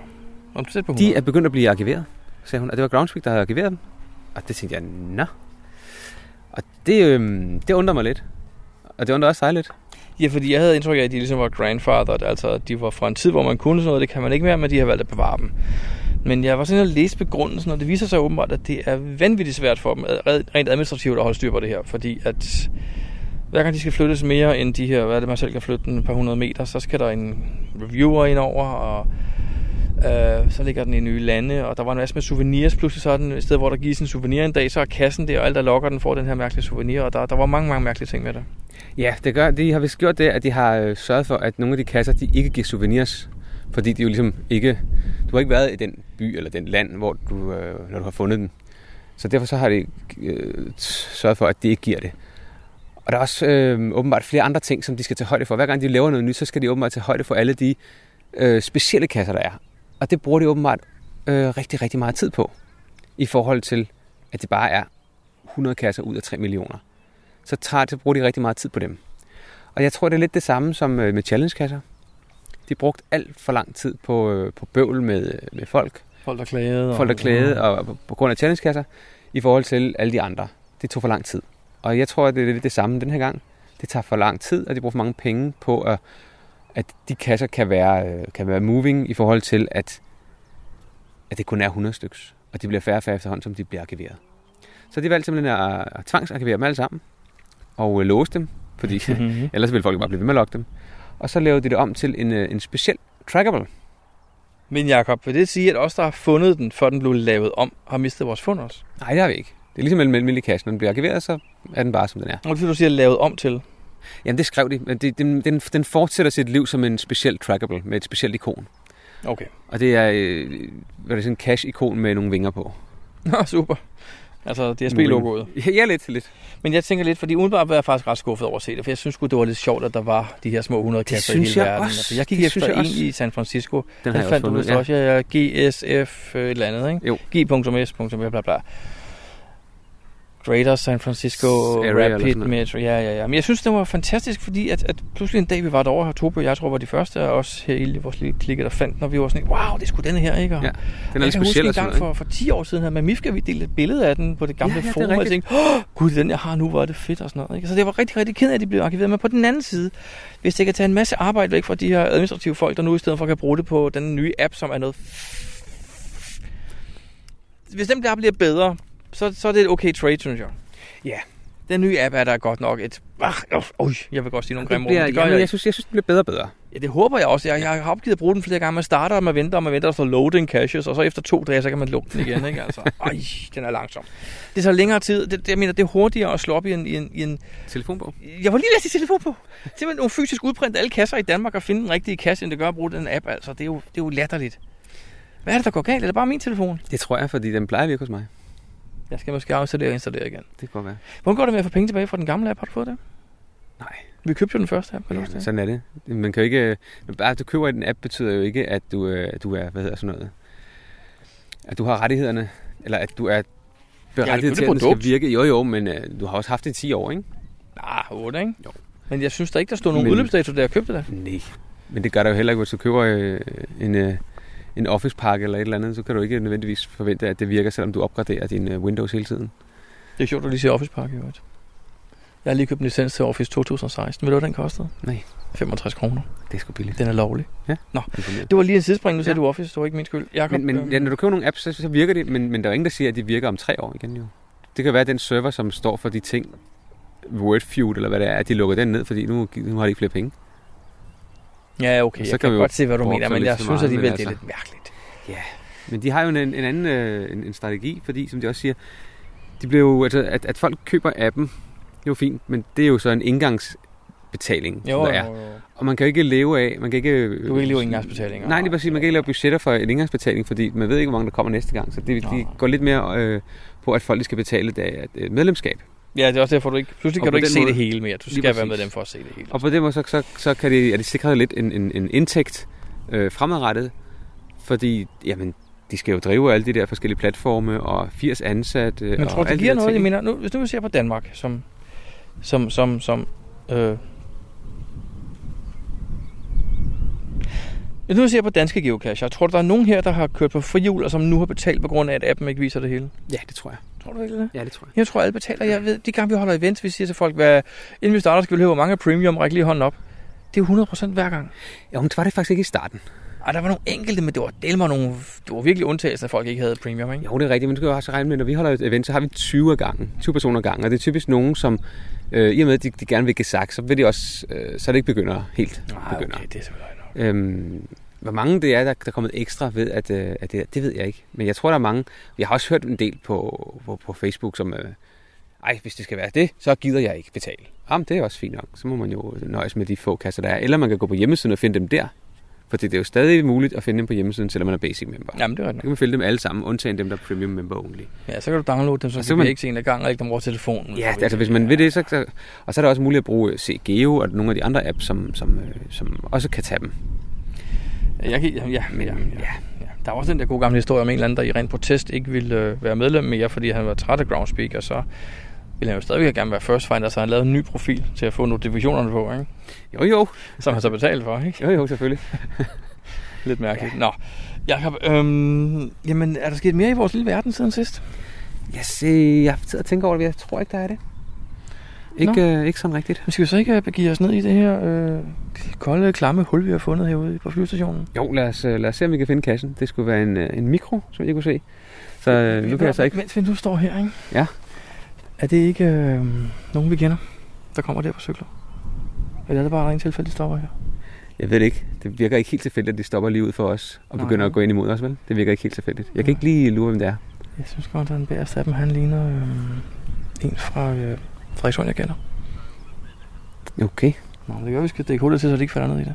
[SPEAKER 1] Om tæt på 100.
[SPEAKER 2] de er begyndt at blive arkiveret, sagde hun. Og det var Groundspeak, der havde arkiveret dem. Og det tænkte jeg, nå. Og det, øh, det undrer mig lidt. Og det undrer også dig lidt.
[SPEAKER 1] Ja, fordi jeg havde indtryk af, at de ligesom var grandfathered, altså at de var fra en tid, hvor man kunne sådan noget, det kan man ikke mere, men de har valgt at bevare dem. Men jeg var sådan inde og læse begrundelsen, og det viser sig åbenbart, at det er vanvittigt svært for dem ad- rent administrativt at holde styr på det her, fordi at hver gang de skal flyttes mere end de her, hvad er det, man selv kan flytte den et par hundrede meter, så skal der en reviewer ind over, og øh, så ligger den i nye lande, og der var en masse med souvenirs. Pludselig så er den et sted, hvor der gives en souvenir en dag, så er kassen der, og alt der lokker den får den her mærkelige souvenir, og der, der var mange, mange mærkelige ting med det.
[SPEAKER 2] Ja, det gør, de har vist gjort det, at de har øh, sørget for, at nogle af de kasser, de ikke giver souvenirs. Fordi de jo ligesom ikke... Du har ikke været i den by eller den land, hvor du, øh, når du har fundet den. Så derfor så har de øh, sørget for, at de ikke giver det. Og der er også øh, åbenbart flere andre ting, som de skal tage højde for. Hver gang de laver noget nyt, så skal de åbenbart tage højde for alle de øh, specielle kasser, der er. Og det bruger de åbenbart øh, rigtig, rigtig meget tid på. I forhold til, at det bare er 100 kasser ud af 3 millioner. Så, tager, så bruger de rigtig meget tid på dem. Og jeg tror, det er lidt det samme som øh, med challenge-kasser. De brugte alt for lang tid på, øh, på bøvl med, med folk.
[SPEAKER 1] Folk, der klagede.
[SPEAKER 2] Folk, der
[SPEAKER 1] og-
[SPEAKER 2] klagede og, og på grund af challenge-kasser, i forhold til alle de andre. Det tog for lang tid. Og jeg tror, at det er lidt det samme den her gang. Det tager for lang tid, og de bruger for mange penge på, at, at de kasser kan være, øh, kan være moving i forhold til, at, at det kun er 100 styks. Og de bliver færre og færre efterhånden, som de bliver arkiveret. Så de valgte simpelthen at, at tvangsarkivere dem alle sammen, og øh, låse dem, fordi
[SPEAKER 1] Mhm.
[SPEAKER 2] ellers ville folk bare blive ved med at logge dem. Og så lavede de det om til en, øh, en speciel trackable.
[SPEAKER 1] Men Jakob, vil det sige, at os, der har fundet den, før den blev lavet om, har mistet vores fund også?
[SPEAKER 2] Nej, det har vi ikke. Det er ligesom en almindelig kasse. Når den bliver arkiveret, så er den bare, som den er.
[SPEAKER 1] Og det vil du sige, lavet om til?
[SPEAKER 2] Jamen, det skrev de. Men det, den, den, den fortsætter sit liv som en speciel trackable med et specielt ikon.
[SPEAKER 1] Okay.
[SPEAKER 2] Og det er, øh, hvad er det, sådan en cash-ikon med nogle vinger på.
[SPEAKER 1] Nå, super. Altså DSB-logoet.
[SPEAKER 2] Ja, ja, lidt, lidt.
[SPEAKER 1] Men jeg tænker lidt, fordi udenbart var jeg faktisk ret skuffet over at se det, for jeg synes sgu, det var lidt sjovt, at der var de her små 100 kasser i
[SPEAKER 2] synes
[SPEAKER 1] hele
[SPEAKER 2] jeg
[SPEAKER 1] verden.
[SPEAKER 2] også.
[SPEAKER 1] Altså, jeg gik
[SPEAKER 2] Det
[SPEAKER 1] efter
[SPEAKER 2] synes jeg
[SPEAKER 1] en
[SPEAKER 2] også.
[SPEAKER 1] i San Francisco.
[SPEAKER 2] Den
[SPEAKER 1] Den,
[SPEAKER 2] har
[SPEAKER 1] den
[SPEAKER 2] jeg
[SPEAKER 1] fandt
[SPEAKER 2] også
[SPEAKER 1] du
[SPEAKER 2] fundet,
[SPEAKER 1] vist også, ja. ja, GSF øh, et eller andet, ikke?
[SPEAKER 2] Jo.
[SPEAKER 1] G.S. bla bla bla. Greater San Francisco
[SPEAKER 2] Area eller
[SPEAKER 1] Rapid
[SPEAKER 2] sådan noget.
[SPEAKER 1] Metro. Ja, ja, ja. Men jeg synes, det var fantastisk, fordi at, at pludselig en dag, vi var derovre her, Tobe og jeg tror var de første, og også her i vores lille klikke, der fandt, når vi var sådan, wow, det er sgu den her, ikke? Og
[SPEAKER 2] Ja, den er
[SPEAKER 1] jeg
[SPEAKER 2] lidt
[SPEAKER 1] kan
[SPEAKER 2] speciel og
[SPEAKER 1] huske
[SPEAKER 2] sådan
[SPEAKER 1] en gang for,
[SPEAKER 2] noget,
[SPEAKER 1] for 10 år siden her, med Mifka, vi delte et billede af den på det gamle
[SPEAKER 2] Ja, ja, det er
[SPEAKER 1] forum, og jeg
[SPEAKER 2] rigtigt.
[SPEAKER 1] tænkte, åh, gud, den jeg har nu, hvor er det fedt og sådan noget. Ikke? Så det var rigtig, rigtig ked af, at de blev arkiveret. Men på den anden side, hvis det kan tage en masse arbejde væk fra de her administrative folk, der nu i stedet for kan bruge det på den nye app, som er noget... Hvis den der bliver bedre, så, så er det et okay trade, synes jeg.
[SPEAKER 2] Ja.
[SPEAKER 1] Den nye app er der godt nok et... Ah, øh, øh, jeg vil godt sige nogle
[SPEAKER 2] Det
[SPEAKER 1] grimme ord,
[SPEAKER 2] bliver,
[SPEAKER 1] men
[SPEAKER 2] det
[SPEAKER 1] gør
[SPEAKER 2] jamen, jeg,
[SPEAKER 1] jeg
[SPEAKER 2] synes, jeg synes, det bliver bedre og bedre.
[SPEAKER 1] Ja, det håber jeg også. Jeg, jeg har opgivet at bruge den flere gange. Man starter, og man venter, og man venter, og så loading caches, og så efter to dage, så kan man lukke den igen. Ikke? Altså, ej, den er langsom. Det tager længere tid. Det, det, jeg mener, det er hurtigere at slå op i en... I en, i en
[SPEAKER 2] Telefonbog?
[SPEAKER 1] Jeg var lige læst i telefon på. Simpelthen nogle fysisk udprinte alle kasser i Danmark og finde den rigtige kasse, end det gør at bruge den app. Altså, det er jo, det er jo latterligt. Hvad er det, der går galt? Er det bare min telefon?
[SPEAKER 2] Det tror jeg, fordi den plejer at virke hos mig.
[SPEAKER 1] Jeg skal måske afsætte og installere igen.
[SPEAKER 2] Det kan godt være.
[SPEAKER 1] Hvordan går det med at få penge tilbage fra den gamle app? Har du fået det?
[SPEAKER 2] Nej.
[SPEAKER 1] Vi købte jo den første app. Ja,
[SPEAKER 2] Jamen, sådan er det. Man kan jo ikke... øh, Bare at du køber en app, betyder jo ikke, at du, øh, at du er... Hvad hedder sådan noget? At du har rettighederne. Eller at du er
[SPEAKER 1] købe
[SPEAKER 2] berettiget til,
[SPEAKER 1] det
[SPEAKER 2] at den skal
[SPEAKER 1] produkt.
[SPEAKER 2] virke. Jo, jo, men øh, du har også haft det i 10 år, ikke?
[SPEAKER 1] Ah, 8, ikke? Jo. Men jeg synes der ikke, der stod nogen
[SPEAKER 2] Men-
[SPEAKER 1] udløbsdato, da jeg købte det.
[SPEAKER 2] Nej. Men det gør der jo heller ikke, hvis du køber øh, en, øh, en Office-pakke eller et eller andet, så kan du ikke nødvendigvis forvente, at det virker, selvom du opgraderer din øh, Windows hele tiden.
[SPEAKER 1] Det er sjovt, du lige siger Office Park i øvrigt. Jeg har lige købt en licens til Office 2016. Ved du, hvad den kostede?
[SPEAKER 2] Nej.
[SPEAKER 1] 65 kroner.
[SPEAKER 2] Det er sgu billigt.
[SPEAKER 1] Den er lovlig.
[SPEAKER 2] Ja.
[SPEAKER 1] Nå,
[SPEAKER 2] imponerende.
[SPEAKER 1] det var lige en sidespring. Nu sagde du Office. Det var ikke min skyld. øhm, Jakob,
[SPEAKER 2] Men, men ja, når du køber nogle apps, så, så virker det, men, men der er ingen, der siger, at de virker om tre år igen jo. Det kan være, at den server, som står for de ting, Wordfeud eller hvad det er, at de lukker den ned, fordi nu, nu har de ikke flere penge.
[SPEAKER 1] Ja, okay.
[SPEAKER 2] Så
[SPEAKER 1] jeg
[SPEAKER 2] kan
[SPEAKER 1] kan,
[SPEAKER 2] vi jo
[SPEAKER 1] godt se, hvad du
[SPEAKER 2] brokke
[SPEAKER 1] mener,
[SPEAKER 2] sig
[SPEAKER 1] men
[SPEAKER 2] lidt
[SPEAKER 1] jeg
[SPEAKER 2] så
[SPEAKER 1] synes
[SPEAKER 2] meget,
[SPEAKER 1] alligevel,
[SPEAKER 2] men
[SPEAKER 1] det er
[SPEAKER 2] altså-
[SPEAKER 1] lidt mærkeligt.
[SPEAKER 2] Men de har jo en, en anden øh, en, en strategi, fordi som de også siger, de bliver jo, altså, at, at folk køber appen, det er jo fint, men det er jo så en indgangsbetaling,
[SPEAKER 1] Jo,
[SPEAKER 2] som der
[SPEAKER 1] jo,
[SPEAKER 2] er.
[SPEAKER 1] jo, jo.
[SPEAKER 2] Og man kan jo ikke leve af, man kan ikke... Du
[SPEAKER 1] kan ikke leve af engangsbetalinger.
[SPEAKER 2] Nej, lige præcis, man kan ikke lave budgetter for en engangsbetaling, fordi man ved ikke, hvor mange der kommer næste gang. Så det, de går lidt mere øh, på, at folk de skal betale der, øh, medlemskab.
[SPEAKER 1] Ja, det er også derfor, du ikke... Pludselig
[SPEAKER 2] Og
[SPEAKER 1] kan
[SPEAKER 2] på
[SPEAKER 1] du ikke
[SPEAKER 2] den
[SPEAKER 1] se
[SPEAKER 2] måde-
[SPEAKER 1] det hele mere. Du
[SPEAKER 2] Lige
[SPEAKER 1] skal være
[SPEAKER 2] præcis.
[SPEAKER 1] med dem for at se det hele.
[SPEAKER 2] Og på den måde, så, så, så kan de, er de sikret lidt en, en, en indtægt øh, fremadrettet, fordi jamen, de skal jo drive alle de der forskellige platforme, og 80 ansatte,
[SPEAKER 1] Men
[SPEAKER 2] og
[SPEAKER 1] tror du, det
[SPEAKER 2] alle de
[SPEAKER 1] giver
[SPEAKER 2] der
[SPEAKER 1] noget? Jeg
[SPEAKER 2] ting.
[SPEAKER 1] mener, nu, hvis nu vi ser på Danmark, som, som, som, som øh, Hvis nu vi ser på danske geocacher, tror du, der er nogen her, der har kørt på frihjul, og som nu har betalt på grund af, at appen ikke viser det hele?
[SPEAKER 2] Ja, det tror jeg.
[SPEAKER 1] Tror du ikke det?
[SPEAKER 2] Ja, det tror jeg.
[SPEAKER 1] Jeg tror, alle betaler. Jeg ved, de gange vi holder events, vi siger til folk, hvad, inden vi starter, skal vi høre, hvor mange er premium, række lige hånden op. Det er jo 100% hver gang.
[SPEAKER 2] Jo, men det var det faktisk ikke i starten.
[SPEAKER 1] Og der var nogle enkelte, men det var, det var, nogle, det var virkelig undtagelser, at folk ikke havde premium, ikke?
[SPEAKER 2] Jo, det er rigtigt, men du skal jo også regne med, når vi holder et event, så har vi 20 af gangen, 20 personer af gangen, og det er typisk nogen, som øh, i og med, at de, de gerne vil gesak, så vil de også, øh, så er det ikke begynder helt begynder.
[SPEAKER 1] okay, det er selvfølgelig nok.
[SPEAKER 2] Øhm, hvor mange det er, der, der er kommet ekstra ved, at, øh, at det, det ved jeg ikke. Men jeg tror, der er mange. Jeg har også hørt en del på, på, på Facebook, som... Øh, ej, hvis det skal være det, så gider jeg ikke betale. Jamen, det er også fint nok. Så må man jo nøjes med de få kasser, der er. Eller man kan gå på hjemmesiden og finde dem der. Fordi det er jo stadig muligt at finde dem på hjemmesiden, selvom man er basic member.
[SPEAKER 1] Jamen, det er rigtigt.
[SPEAKER 2] Så kan man finde dem alle sammen, undtagen dem, der er premium member only.
[SPEAKER 1] Ja, så kan du downloade dem, så,
[SPEAKER 2] Og
[SPEAKER 1] så
[SPEAKER 2] så
[SPEAKER 1] kan
[SPEAKER 2] man-
[SPEAKER 1] vi ikke se en ad gangen og ikke dem over telefonen.
[SPEAKER 2] Ja, det, altså hvis man vil det, så, så, og så er der også muligt at bruge CGeo og nogle af de andre apps, som, som, øh, som også kan tage dem.
[SPEAKER 1] Jeg kan, ja, ja, ja, ja, ja. Der var også den der gode gamle historie om en eller anden, der i ren protest ikke ville øh, være medlem mere, fordi han var træt af Groundspeak, og så ville han jo stadigvæk gerne være first finder, så han lavede en ny profil til at få notifikationerne på, ikke?
[SPEAKER 2] Jo, jo.
[SPEAKER 1] Som han så betalte for, ikke?
[SPEAKER 2] Jo, jo, selvfølgelig.
[SPEAKER 1] Lidt mærkeligt. Ja. Nå, Jacob, øhm, jamen, er der sket mere i vores lille verden siden sidst?
[SPEAKER 2] Jeg, se, jeg har tid at tænke over det, jeg tror ikke, der er det. Ikke, øh, ikke sådan rigtigt.
[SPEAKER 1] Men skal vi så ikke øh, begive os ned i det her øh, kolde, klamme hul, vi har fundet herude på flyvestationen?
[SPEAKER 2] Jo, lad os, øh, lad os se, om vi kan finde kassen. Det skulle være en, øh, en mikro, som jeg kunne se. Så øh, nu kan jeg så ikke...
[SPEAKER 1] Mens vi nu står her, ikke?
[SPEAKER 2] Ja.
[SPEAKER 1] Er det ikke øh, nogen, vi kender, der kommer der på cykler? Eller er det bare rent tilfældigt, de stopper her?
[SPEAKER 2] Jeg ved det ikke. Det virker ikke helt tilfældigt, at de stopper lige ud for os og
[SPEAKER 1] Nej.
[SPEAKER 2] begynder at gå ind imod os, vel? Det virker ikke helt tilfældigt. Jeg kan ikke lige lure, hvem det er.
[SPEAKER 1] Jeg synes godt, at den bæreste af dem, han ligner øh, en fra øh, Frederikshund, jeg kender.
[SPEAKER 2] Okay.
[SPEAKER 1] Nå, men det gør, vi skal dække hullet til, så det ikke falder ned i det.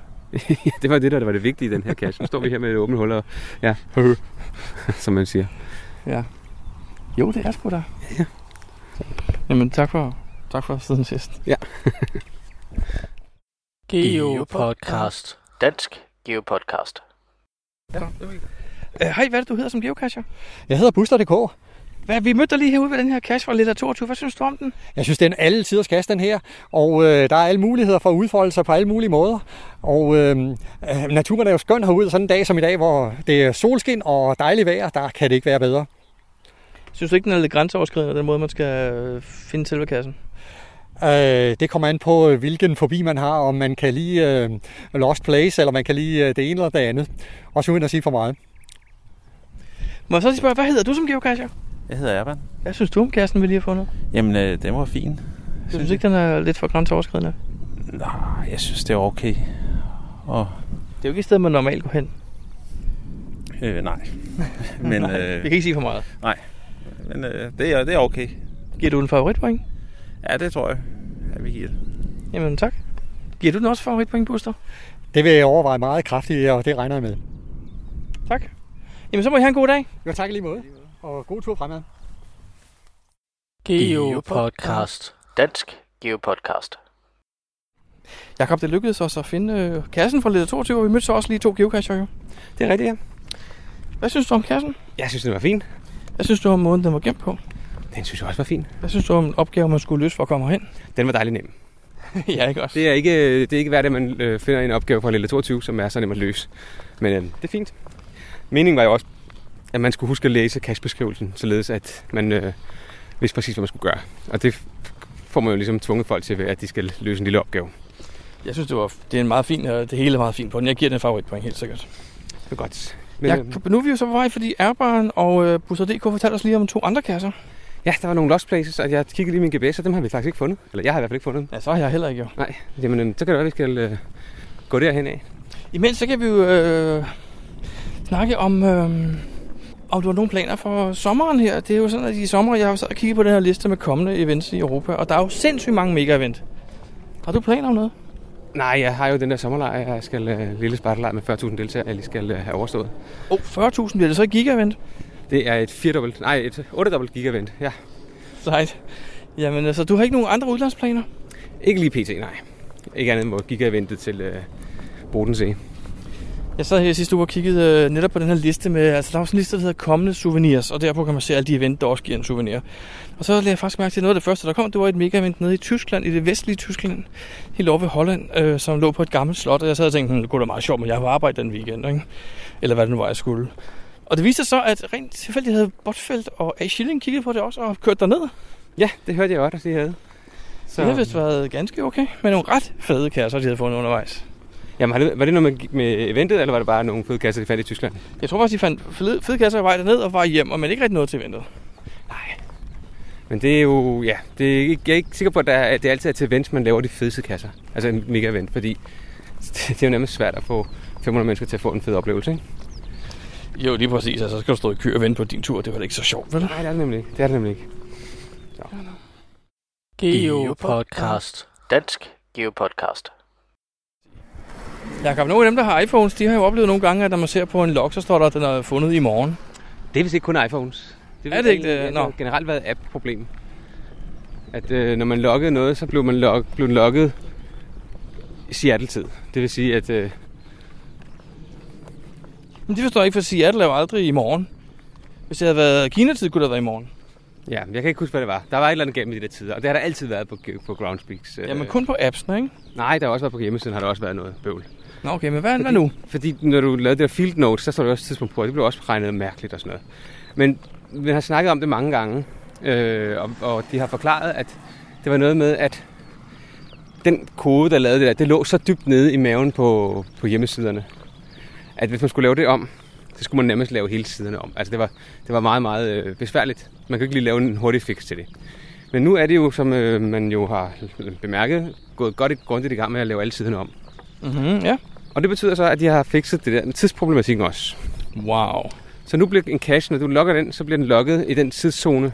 [SPEAKER 2] ja, det var det, der var det vigtige i den her kasse. Nu står vi her med et åbent hul og... Ja. som man siger.
[SPEAKER 1] Ja. Jo, det er sgu da. Ja. Jamen, tak for, tak for siden sidst.
[SPEAKER 2] Ja.
[SPEAKER 6] Geopodcast. Dansk Geopodcast.
[SPEAKER 1] Øh, Hej, hvad er det, du hedder som geocacher?
[SPEAKER 9] Jeg hedder Buster.dk.
[SPEAKER 1] Hvad, vi mødte dig lige herude ved den her cache fra Leder 22. Hvad synes du om den?
[SPEAKER 9] Jeg synes, det er en alle tiders kasse, den her. Og øh, der er alle muligheder for at udfolde sig på alle mulige måder. Og øh, øh, naturen er jo skøn herude, sådan en dag som i dag, hvor det er solskin og dejligt vejr. Der kan det ikke være bedre.
[SPEAKER 1] Synes du ikke, den er lidt grænseoverskridende, den måde, man skal øh, finde selve kassen?
[SPEAKER 9] Øh, det kommer an på, øh, hvilken fobi man har, om man kan lide øh, Lost Place, eller man kan lide øh, det ene eller det andet. Også uden at sige for meget.
[SPEAKER 1] Må jeg så lige spørge, hvad hedder du som geocacher?
[SPEAKER 10] Jeg hedder Erban.
[SPEAKER 1] Hvad synes du om kassen, vi lige har fundet?
[SPEAKER 10] Jamen, øh, den var fin.
[SPEAKER 1] Jeg synes ikke, den er lidt for grænseoverskridende.
[SPEAKER 10] Nej, jeg synes, det er okay. Og,
[SPEAKER 1] Det er jo ikke et sted, man normalt går hen.
[SPEAKER 10] øh, nej. Men,
[SPEAKER 1] Nej, vi
[SPEAKER 9] øh,
[SPEAKER 1] kan ikke sige for meget.
[SPEAKER 10] Nej, men øh, det, er, det er okay.
[SPEAKER 1] Giver du en favoritpoint?
[SPEAKER 10] Ja, det tror jeg, at vi giver det.
[SPEAKER 1] Jamen tak. Giver du den også favoritpoint, Buster?
[SPEAKER 9] Det vil jeg overveje meget kraftigt, og det regner jeg med.
[SPEAKER 1] Tak. Jamen så må I have en god dag.
[SPEAKER 9] Jo, tak i lige måde. Og god tur fremad.
[SPEAKER 6] Geopodcast. Dansk Geopodcast.
[SPEAKER 1] Jakob, det lykkedes os at finde øh, kassen fra Leder 22, og vi mødte så også lige to geocacher jo.
[SPEAKER 2] Det er rigtigt, ja.
[SPEAKER 1] Hvad synes du om kassen?
[SPEAKER 2] Jeg synes, det var fint.
[SPEAKER 1] Hvad synes du om måden, den var gemt på?
[SPEAKER 2] Den synes jeg også var fin.
[SPEAKER 1] Hvad synes du om opgaven, man skulle løse for at komme hen?
[SPEAKER 2] Den var dejlig nem.
[SPEAKER 1] ja, ikke også?
[SPEAKER 2] Det er ikke, det er ikke værd, at man øh, finder en opgave fra Lille 22, som er så nem at løse. Men øh, det er fint. Meningen var jo også, at man skulle huske at læse kastbeskrivelsen, således at man øh, vidste præcis, hvad man skulle gøre. Og det får man jo ligesom tvunget folk til, ved, at de skal løse en lille opgave.
[SPEAKER 1] Jeg synes, det, var, det er en meget fin, øh, det hele er meget fint på den. Jeg giver den en favoritpoint, helt sikkert.
[SPEAKER 2] Det er godt.
[SPEAKER 1] Men,
[SPEAKER 2] Men, øhm,
[SPEAKER 1] Jakob, nu er vi jo så på vej, fordi Airbaren og øh, Busser.dk fortalte os lige om to andre kasser.
[SPEAKER 2] Ja, der var nogle lost places, og jeg kiggede lige i min GPS, og dem har vi faktisk ikke fundet. Eller jeg har i hvert fald ikke fundet dem.
[SPEAKER 1] Ja, så har jeg heller ikke jo.
[SPEAKER 2] Nej, jamen øh, så kan det være, at vi skal øh, gå derhen af.
[SPEAKER 1] Imens så kan vi jo øh, snakke om, øh, om du har nogle planer for sommeren her. Det er jo sådan, at i sommer, jeg har jo siddet og kigget på den her liste med kommende events i Europa, og der er jo sindssygt mange mega-event. Har du planer om noget?
[SPEAKER 2] Nej, jeg har jo den der sommerlejr, jeg skal øh, lille spartelejr med 40.000 deltagere, jeg lige skal øh, have overstået.
[SPEAKER 1] Åh, oh, 40.000 bliver det så et gigavent?
[SPEAKER 2] Det er et 4-dobbelt, nej, et 8-dobbelt gigavent, ja.
[SPEAKER 1] Sejt. Jamen, altså, du har ikke nogen andre udlandsplaner?
[SPEAKER 2] Ikke lige pt, nej. Ikke andet end hvor gigaventet til øh, E. Bodensee.
[SPEAKER 1] Jeg sad her sidste uge og kiggede øh, netop på den her liste med, altså der er jo sådan en liste, der hedder kommende souvenirs, og derpå kan man se alle de event, der også giver en souvenir. Og så lagde jeg faktisk mærke til, at noget af det første, der kom, det var et mega-event nede i Tyskland, i det vestlige Tyskland, helt over ved Holland, øh, som lå på et gammelt slot, og jeg sad og tænkte, hm, det kunne da være meget sjovt, men jeg var arbejde den weekend, ikke? eller hvad det nu var, jeg skulle. Og det viste sig så, at rent tilfældigt havde Botfeldt og A. Schilling kigget på det også og kørt derned.
[SPEAKER 2] Ja, det hørte jeg godt, at de havde.
[SPEAKER 1] Så... Det havde vist været ganske okay, men nogle ret fede kasser, de havde fundet undervejs.
[SPEAKER 2] Jamen, har det- var det noget med, med eventet, eller var det bare nogle fede kasser, de fandt i Tyskland?
[SPEAKER 1] Jeg tror faktisk, de fandt fede- fede kasser på vej derned og var hjem, og man ikke rigtig noget til eventet.
[SPEAKER 2] Men det er jo, ja, det er ikke, jeg er ikke sikker på, at der, er- det altid er til events, man laver de fedeste kasser. Altså en mega event, fordi det er jo nærmest svært at få 500 mennesker til at få en fed oplevelse, ikke?
[SPEAKER 1] Jo, lige præcis. Altså, så skal du stå i kø og vente på din tur. Det var da ikke så sjovt, vel?
[SPEAKER 2] Nej, det er det nemlig ikke. Det er det nemlig ikke.
[SPEAKER 6] Geopodcast. Dansk Geopodcast.
[SPEAKER 1] Jakob, nogle af dem, der har iPhones, de har jo oplevet nogle gange, at når man ser på en log, så står der, at den er fundet i morgen.
[SPEAKER 2] Det er vist ikke kun iPhones.
[SPEAKER 1] er det ikke det?
[SPEAKER 2] Det har generelt været app-problem. At øh, når man loggede noget, så blev man log, blev den logget i Seattle-tid. Det vil sige, at øh,
[SPEAKER 1] Men det forstår jeg ikke, for Seattle er jo aldrig i morgen. Hvis det havde været Kina-tid, kunne det have været i morgen.
[SPEAKER 2] ja, jeg kan ikke huske, hvad det var. Der var et eller andet galt med de der tider, og det har der altid været på, på Groundspeaks. Øh.
[SPEAKER 1] Ja, men kun på appsene, ikke?
[SPEAKER 2] Nej, der har også været på hjemmesiden, har der også været noget bøvl.
[SPEAKER 1] Nå, okay, men hvad,
[SPEAKER 2] Fordi-
[SPEAKER 1] hvad nu?
[SPEAKER 2] Fordi når du lavede det der field notes, så står der også et tidspunkt på, og det blev også regnet mærkeligt og sådan noget. Men vi har snakket om det mange gange, øh, og, og de har forklaret, at det var noget med, at den kode, der lavede det der, det lå så dybt nede i maven på, på hjemmesiderne, at hvis man skulle lave det om, så skulle man nærmest lave hele siderne om. Altså det var, det var meget, meget øh, besværligt. Man kan ikke lige lave en hurtig fix til det. Men nu er det jo, som øh, man jo har bemærket, gået godt i, grundigt i gang med at lave alle siderne om.
[SPEAKER 1] Mm-hmm, ja.
[SPEAKER 2] Og det betyder så, at de har fikset det der med tidsproblematikken også.
[SPEAKER 1] Wow.
[SPEAKER 2] Så nu bliver en cache, når du logger den, så bliver den logget i den tidszone,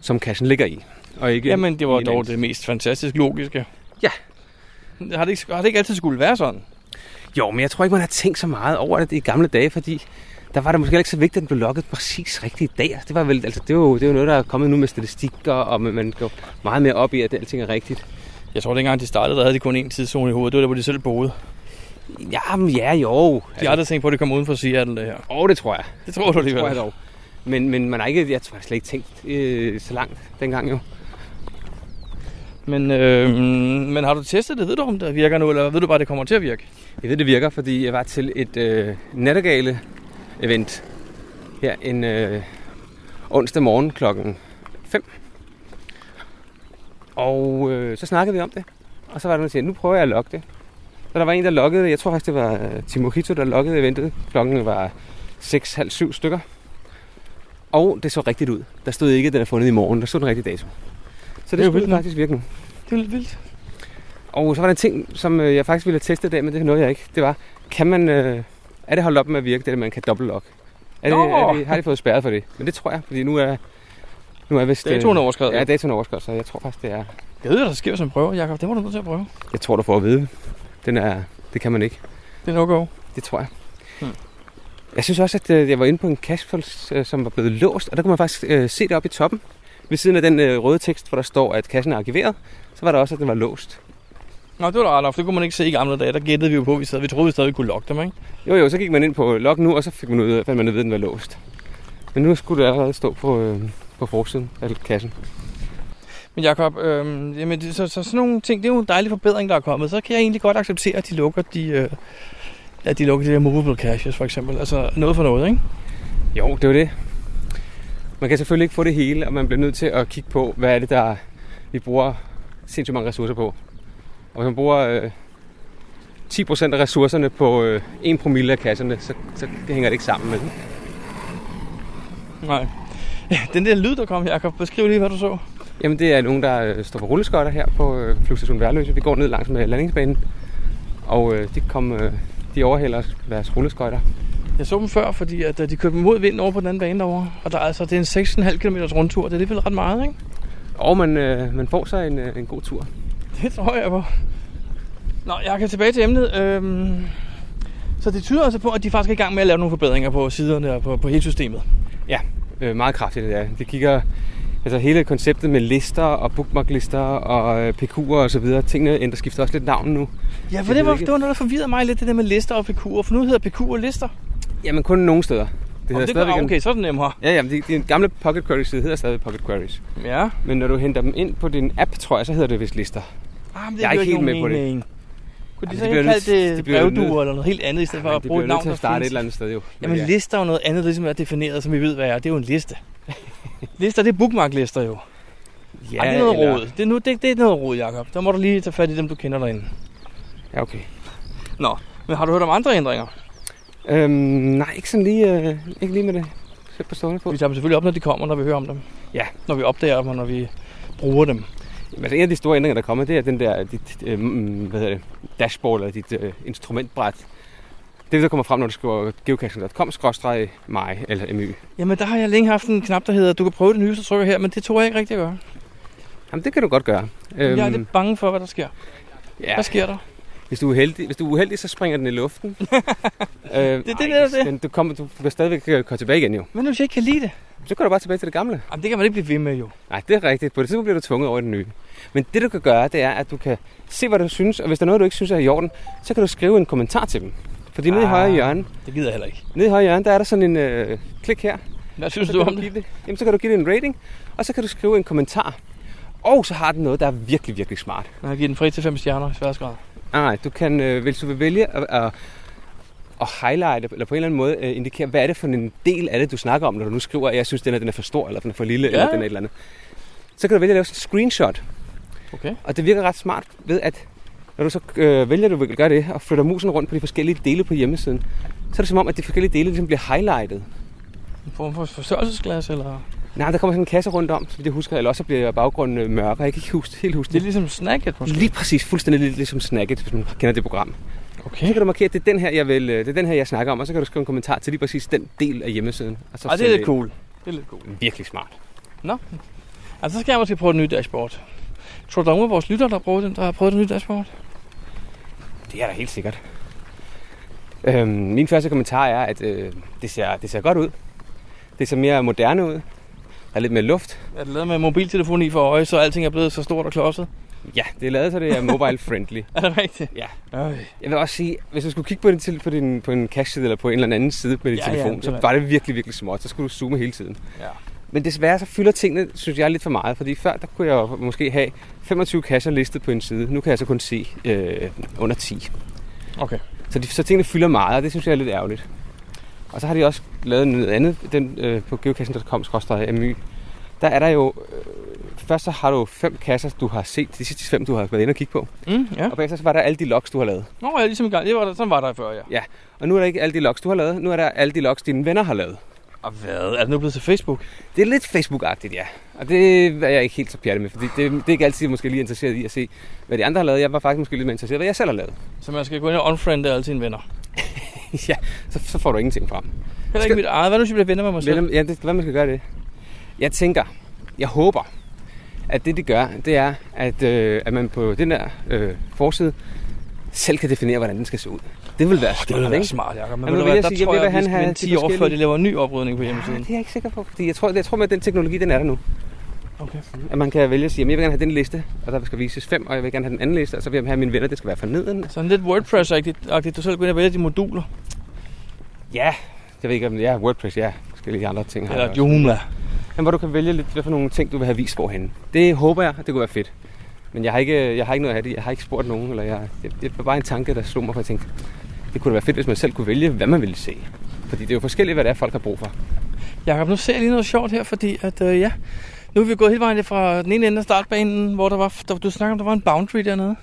[SPEAKER 2] som cachen ligger i. Og ikke
[SPEAKER 1] Jamen, det var
[SPEAKER 2] i
[SPEAKER 1] dog
[SPEAKER 2] den-
[SPEAKER 1] det mest fantastisk logiske.
[SPEAKER 2] Ja.
[SPEAKER 1] Har det, ikke, har det ikke altid skulle være sådan?
[SPEAKER 2] Jo, men jeg tror ikke, man har tænkt så meget over det i gamle dage, fordi der var det måske heller ikke så vigtigt, at den blev logget præcis rigtigt i dag. Altså, Det, var vel, altså, det, er jo, det er jo noget, der er kommet nu med statistikker, og man- man går meget mere op i, at alting er rigtigt.
[SPEAKER 1] Jeg tror, dengang de startede, der havde de kun én tidszone i hovedet. Det var der, hvor de selv boede.
[SPEAKER 2] Jamen, ja, jo. De
[SPEAKER 1] har aldrig tænkt på, at det kom uden for Seattle, det her.
[SPEAKER 2] Åh, oh, det tror jeg.
[SPEAKER 1] Det tror du
[SPEAKER 2] Det
[SPEAKER 1] alligevel.
[SPEAKER 2] tror jeg dog. Men, men man har ikke, jeg tror, jeg har slet ikke tænkt øh, så langt dengang jo.
[SPEAKER 1] Men, øh, men har du testet det? Ved du, om det virker nu, eller ved du bare, at det kommer til at virke?
[SPEAKER 2] Jeg ved, det virker, fordi jeg var til et øh, nattergale event her en øh, onsdag morgen klokken 5. Og øh, så snakkede vi om det, og så var der nogen, der sagde, nu prøver jeg at logge det. Så der var en, der loggede, jeg tror faktisk, det var øh, Timo Hito, der loggede eventet. Klokken var 6.30 stykker. Og det så rigtigt ud. Der stod ikke, at den er fundet i morgen. Der stod den rigtige dato. Så det,
[SPEAKER 1] er jo
[SPEAKER 2] det skulle
[SPEAKER 1] vildt.
[SPEAKER 2] faktisk virke nu.
[SPEAKER 1] Det er lidt vildt.
[SPEAKER 2] Og så var der en ting, som øh, jeg faktisk ville have testet i dag, men det nåede jeg ikke. Det var, kan man, øh, er det holdt op med at virke, det der, man kan dobbeltlogge? Er det, er
[SPEAKER 1] Nå!
[SPEAKER 2] det, har de fået spærret for det? Men det tror jeg, fordi nu er, nu er vist... øh,
[SPEAKER 1] Datoen er overskrevet.
[SPEAKER 2] Ja, datoen er overskrevet, så jeg tror faktisk, det er...
[SPEAKER 1] Jeg ved, hvad der sker som prøver, Jakob. Det må du nødt til at prøve.
[SPEAKER 2] Jeg tror, du får at vide. Den er, det kan man ikke.
[SPEAKER 1] Det er no-go.
[SPEAKER 2] Det tror jeg.
[SPEAKER 1] Hmm.
[SPEAKER 2] Jeg synes også, at øh, jeg var inde på en cache, øh, som var blevet låst, og der kunne man faktisk øh, se det oppe i toppen. Ved siden af den øh, røde tekst, hvor der står, at kassen er arkiveret, så var der også, at den var låst.
[SPEAKER 1] Nå, det var da rart, for det kunne man ikke se i gamle dage. Der gættede vi jo på, at vi, stadig, vi troede, vi stadig kunne logge dem, ikke?
[SPEAKER 2] Jo, jo, så gik man ind på log nu, og så fik man ud, af- fandt man ud af, at den var låst. Men nu skulle det allerede stå på, øh, på forsiden af kassen.
[SPEAKER 1] Men Jakob, øh, jamen, det- så, så, sådan nogle ting, det er jo en dejlig forbedring, der er kommet. Så kan jeg egentlig godt acceptere, at de lukker de, øh, at de, lukker de der movable caches, for eksempel. Altså noget for noget, ikke?
[SPEAKER 2] Jo, det var det. Man kan selvfølgelig ikke få det hele, og man bliver nødt til at kigge på, hvad er det, der vi bruger sindssygt mange ressourcer på. Og hvis man bruger øh, 10% af ressourcerne på øh, 1 promille af kasserne, så, så hænger det ikke sammen med det.
[SPEAKER 1] Nej. Ja, den der lyd, der kom, Jakob, beskriv lige, hvad du så.
[SPEAKER 2] Jamen, det er nogen, der øh, står på rulleskøjter her på øh, Flygstation Værløse. Vi går ned langs med landingsbanen, og øh, de, kom, øh, de overhælder os deres rulleskøjter.
[SPEAKER 1] Jeg så dem før, fordi at øh, de kørte mod vinden over på den anden bane derovre. Og der er altså, det er en 6,5 km rundtur. Det er alligevel ret meget, ikke?
[SPEAKER 2] Og man, øh, man får sig en, øh, en god tur.
[SPEAKER 1] Det tror jeg på. Nå, jeg kan tilbage til emnet. Øhm, så det tyder altså på, at de faktisk er i gang med at lave nogle forbedringer på siderne og på, på hele systemet.
[SPEAKER 2] Ja, øh, meget kraftigt det er. Det kigger altså hele konceptet med lister og bookmarklister og øh, PQ'er og så videre. Tingene ændrer skifter også lidt navn nu.
[SPEAKER 1] Ja, for
[SPEAKER 2] Jeg
[SPEAKER 1] det
[SPEAKER 2] ved
[SPEAKER 1] var,
[SPEAKER 2] ikke-
[SPEAKER 1] det var noget, der forvirrede mig lidt, det der med lister og PQ'er. For nu hedder PQ'er lister.
[SPEAKER 2] Jamen kun nogle steder. Det
[SPEAKER 1] det- ah, okay, så er det nemmere.
[SPEAKER 2] Ja, jamen, de, de gamle Pocket Queries side hedder stadig Pocket Queries.
[SPEAKER 1] Ja.
[SPEAKER 2] Men når du henter dem ind på din app, tror jeg, så hedder det vist lister.
[SPEAKER 1] Ah, men det
[SPEAKER 2] jeg er
[SPEAKER 1] giver
[SPEAKER 2] ikke helt
[SPEAKER 1] ikke
[SPEAKER 2] med
[SPEAKER 1] nogen
[SPEAKER 2] på det.
[SPEAKER 1] mening. Kunne de
[SPEAKER 2] Jamen,
[SPEAKER 1] så
[SPEAKER 2] de
[SPEAKER 1] ikke
[SPEAKER 2] bliver
[SPEAKER 1] kalde
[SPEAKER 2] nødt- de
[SPEAKER 1] det øh,
[SPEAKER 2] bliver jo nødt-
[SPEAKER 1] brevduer eller noget helt andet, i stedet for
[SPEAKER 2] Jamen,
[SPEAKER 1] at
[SPEAKER 2] de
[SPEAKER 1] bruge
[SPEAKER 2] bliver
[SPEAKER 1] et
[SPEAKER 2] nødt
[SPEAKER 1] navn,
[SPEAKER 2] til
[SPEAKER 1] der
[SPEAKER 2] at starte
[SPEAKER 1] findes?
[SPEAKER 2] et eller andet sted, jo. Men
[SPEAKER 1] Jamen,
[SPEAKER 2] ja.
[SPEAKER 1] lister er jo noget andet, der ligesom er defineret, som vi ved, hvad er. Det er jo en liste. lister, det er bookmark-lister jo. Ja, Ej, det er noget
[SPEAKER 2] eller-
[SPEAKER 1] råd. Det er, nu, det, det er noget råd, Jacob. Der må du lige tage fat i dem, du kender derinde.
[SPEAKER 2] Ja, okay.
[SPEAKER 1] Nå, men har du hørt om andre ændringer?
[SPEAKER 2] Øhm, nej, ikke sådan lige, øh, ikke lige med det. Sæt på stående på.
[SPEAKER 1] Vi tager dem selvfølgelig op, når de kommer, når vi hører om dem.
[SPEAKER 2] Ja.
[SPEAKER 1] Når vi opdager dem, og når vi bruger dem.
[SPEAKER 2] Jamen, altså en af de store ændringer, der er kommet, det er den der, dit, øh, mm, hvad hedder det, dashboard eller dit øh, instrumentbræt. Det, der kommer frem, når du skriver geocaching.com, skråstreg mig eller my.
[SPEAKER 1] Jamen, der har jeg længe haft en knap, der hedder, du kan prøve det nyeste trykker her, men det tror jeg ikke rigtig at gøre.
[SPEAKER 2] Jamen, det kan du godt gøre. Øhm,
[SPEAKER 1] Øhm. Jeg er lidt bange for, hvad der sker.
[SPEAKER 2] ja.
[SPEAKER 1] Hvad sker der?
[SPEAKER 2] Hvis du er heldig, hvis du er uheldig, så springer den i luften. øh, det,
[SPEAKER 1] det, det er det.
[SPEAKER 2] Men du, kommer, du kan stadigvæk øh, komme tilbage igen jo.
[SPEAKER 1] Men hvis jeg ikke kan lide det?
[SPEAKER 2] Så går du bare tilbage til det gamle.
[SPEAKER 1] Jamen, det kan man ikke blive ved med jo.
[SPEAKER 2] Nej, det er rigtigt. På det tidspunkt bliver du tvunget over i det nye. Men det du kan gøre, det er, at du kan se, hvad du synes, og hvis der er noget, du ikke synes er i orden, så kan du skrive en kommentar til dem. Fordi nede i
[SPEAKER 1] Ah,
[SPEAKER 2] højre hjørne,
[SPEAKER 1] Det gider jeg heller ikke.
[SPEAKER 2] nede i højre hjørne, der er der sådan en øh, klik her.
[SPEAKER 1] Hvad synes
[SPEAKER 2] Så
[SPEAKER 1] du
[SPEAKER 2] kan
[SPEAKER 1] om
[SPEAKER 2] give det? Jamen, så kan du give det en rating, og så kan du skrive en kommentar. Og så har den noget, der er virkelig, virkelig smart.
[SPEAKER 1] Jeg giver den fri til 5 stjerner i sværdsgrad.
[SPEAKER 2] Nej, nej, du kan, øh, hvis du vil vælge at, at, at highlighte, eller på en eller anden måde øh, indikere, hvad er det for en del af det, du snakker om, når du nu skriver, at jeg synes, den her den er for stor, eller den er for lille,
[SPEAKER 1] Ja.
[SPEAKER 2] eller den er et eller andet. Så kan du vælge at lave sådan en screenshot.
[SPEAKER 1] Okay.
[SPEAKER 2] Og det virker ret smart ved, at når du så øh, vælger, at du vil gøre det, og flytter musen rundt på de forskellige dele på hjemmesiden, så er det som om, at de forskellige dele ligesom bliver highlightet.
[SPEAKER 1] En form for forstørrelsesglas, eller...
[SPEAKER 2] Nej, der kommer sådan en kasse rundt om, så vidt jeg husker, eller også så bliver baggrunden øh, mørkere. Jeg kan ikke huske, helt huske det.
[SPEAKER 1] Det er ligesom Snacket, måske?
[SPEAKER 2] Lige præcis, fuldstændig lidt ligesom Snacket, hvis man kender det program.
[SPEAKER 1] Okay.
[SPEAKER 2] Så kan du markere, at det er, den her, jeg vil, øh, det er den her, jeg snakker om, og så kan du skrive en kommentar til lige præcis den del af hjemmesiden. Og så
[SPEAKER 1] Ej, det
[SPEAKER 2] sende
[SPEAKER 1] er lidt
[SPEAKER 2] ind.
[SPEAKER 1] cool. Det er lidt cool.
[SPEAKER 2] Virkelig smart.
[SPEAKER 1] Nå. Altså, så skal jeg måske prøve et nyt dashboard. Tror du, der er nogen af vores lyttere, der har prøvet den, der har prøvet det nye dashboard?
[SPEAKER 2] Det er da helt sikkert. Øhm, min første kommentar er, at øh, det, ser, det ser godt ud. Det ser mere moderne ud. Der er lidt mere luft.
[SPEAKER 1] Er det lavet med mobiltelefoni for øje, så alting er blevet så stort og klodset?
[SPEAKER 2] Ja, det er lavet, så det er mobile friendly.
[SPEAKER 1] er det rigtigt?
[SPEAKER 2] Ja.
[SPEAKER 1] Øj.
[SPEAKER 2] Jeg vil også sige, hvis du skulle kigge på, din, tele- på, din, på en cache-side eller på en eller anden side med din
[SPEAKER 1] Ja, ja,
[SPEAKER 2] ja, telefon,
[SPEAKER 1] det
[SPEAKER 2] så
[SPEAKER 1] er
[SPEAKER 2] var det virkelig, virkelig småt. Så skulle du zoome hele tiden.
[SPEAKER 1] Ja.
[SPEAKER 2] Men desværre så fylder tingene, synes jeg, lidt for meget. Fordi før, der kunne jeg jo måske have 25 kasser listet på en side. Nu kan jeg så kun se øh, under 10.
[SPEAKER 1] Okay.
[SPEAKER 2] Så, de, så tingene fylder meget, og det synes jeg er lidt ærgerligt. Og så har de også lavet noget andet den, øh, på geocaching.com my. Der er der jo... Øh, først så har du fem kasser, du har set. De sidste fem, du har været inde og kigge på.
[SPEAKER 1] Mm, ja.
[SPEAKER 2] Og bagefter så var der alle de logs, du har lavet.
[SPEAKER 1] Nå, jeg er ligesom i gang. Det var der, sådan var der før, ja.
[SPEAKER 2] Ja, og nu er der ikke alle de logs, du har lavet. Nu er der alle de logs, dine venner har lavet.
[SPEAKER 1] Og hvad? Er det nu blevet til Facebook?
[SPEAKER 2] Det er lidt Facebook-agtigt, ja. Og det er jeg ikke helt så pjattet med, fordi det, det er ikke altid, jeg måske lige er interesseret i at se, hvad de andre har lavet. Jeg var faktisk måske lidt mere interesseret i, hvad jeg selv har lavet.
[SPEAKER 1] Så man skal gå ind og unfriende alle sine venner.
[SPEAKER 2] ja, så, så får du ingenting frem.
[SPEAKER 1] Heller ikke mit eget. Hvad nu, hvis jeg bliver venner med mig selv?
[SPEAKER 2] Venner, ja, det, hvad man skal gøre det. Jeg tænker, jeg håber, at det, de gør, det er, at, øh, at man på den der øh, forside selv kan definere, hvordan den skal se ud. Det vil være smart,
[SPEAKER 1] Det ville være
[SPEAKER 2] ikke?
[SPEAKER 1] smart, Jacob. Men
[SPEAKER 2] Jamen,
[SPEAKER 1] ved du
[SPEAKER 2] vil
[SPEAKER 1] hvad,
[SPEAKER 2] jeg
[SPEAKER 1] der
[SPEAKER 2] sige, jeg
[SPEAKER 1] tror
[SPEAKER 2] vil
[SPEAKER 1] jeg,
[SPEAKER 2] have
[SPEAKER 1] at vi
[SPEAKER 2] han
[SPEAKER 1] skal
[SPEAKER 2] have
[SPEAKER 1] 10
[SPEAKER 2] de
[SPEAKER 1] år før,
[SPEAKER 2] forskellige-
[SPEAKER 1] de laver en ny oprydning på hjemmesiden.
[SPEAKER 2] Ah, Det er jeg ikke sikker på, fordi jeg tror, jeg tror med, at den teknologi, den er der nu.
[SPEAKER 1] Okay.
[SPEAKER 2] At man kan vælge at sige, at jeg vil gerne have den liste, og der skal vises fem, og jeg vil gerne have den anden liste, og så vil jeg have mine venner, det skal være forneden.
[SPEAKER 1] Sådan lidt WordPress-agtigt. Du selv går ind og vælger de moduler.
[SPEAKER 2] Ja, jeg ved ikke, om det er WordPress, ja. Forskellige andre ting. har
[SPEAKER 1] Eller
[SPEAKER 2] jeg også.
[SPEAKER 1] Joomla.
[SPEAKER 2] Men hvor du kan vælge lidt, hvad for nogle ting, du vil have vist hvorhen. Det håber jeg, det kunne være fedt. Men jeg har ikke, jeg har ikke noget af det. Jeg har ikke spurgt nogen, eller jeg, det, det var bare en tanke, der slog mig, for jeg tænkte, det kunne da være fedt, hvis man selv kunne vælge, hvad man ville se. Fordi det er jo forskelligt, hvad det er, folk har brug for.
[SPEAKER 1] Jakob, nu ser jeg lige noget sjovt her, fordi at, øh, ja, nu er vi gået hele vejen fra den ene ende af startbanen, hvor der var, der, du snakker om, der var en boundary dernede.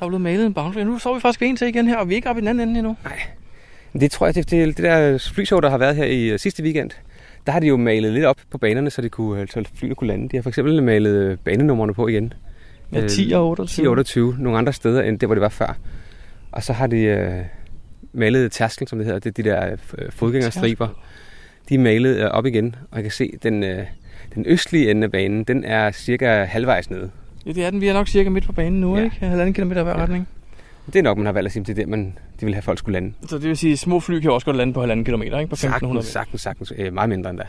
[SPEAKER 1] Der blev malet en boundary. Nu står vi faktisk ved en til igen her, og vi er ikke oppe i den anden ende endnu.
[SPEAKER 2] Nej. Det tror jeg, det, det, det der flyshow, der har været her i øh, sidste weekend, der har de jo malet lidt op på banerne, så, de kunne, øh, så flyene kunne lande. De har for eksempel malet øh, banenummerne på igen.
[SPEAKER 1] Ja,
[SPEAKER 2] Øh,
[SPEAKER 1] 10 og 28.
[SPEAKER 2] 10 og 28,
[SPEAKER 1] Mm.
[SPEAKER 2] nogle andre steder end det, hvor det var før. Og så har de øh, malet tærskel, som det hedder, det er de der øh, fodgængerstriber. De er malet øh, op igen, og jeg kan se, den, øh, den østlige ende af banen, den er cirka halvvejs nede.
[SPEAKER 1] Ja, det er den. Vi er nok cirka midt på banen nu, ja. ikke? Halvanden kilometer i hver ja. retning.
[SPEAKER 2] Det er nok, man har valgt at sige, at det er der, man, de vil have, at folk skulle lande.
[SPEAKER 1] Så det vil sige, at små fly kan også godt lande på halvanden kilometer, ikke? På 1500 meter.
[SPEAKER 2] Sagtens, sagtens, sagtens. Øh, meget mindre end der.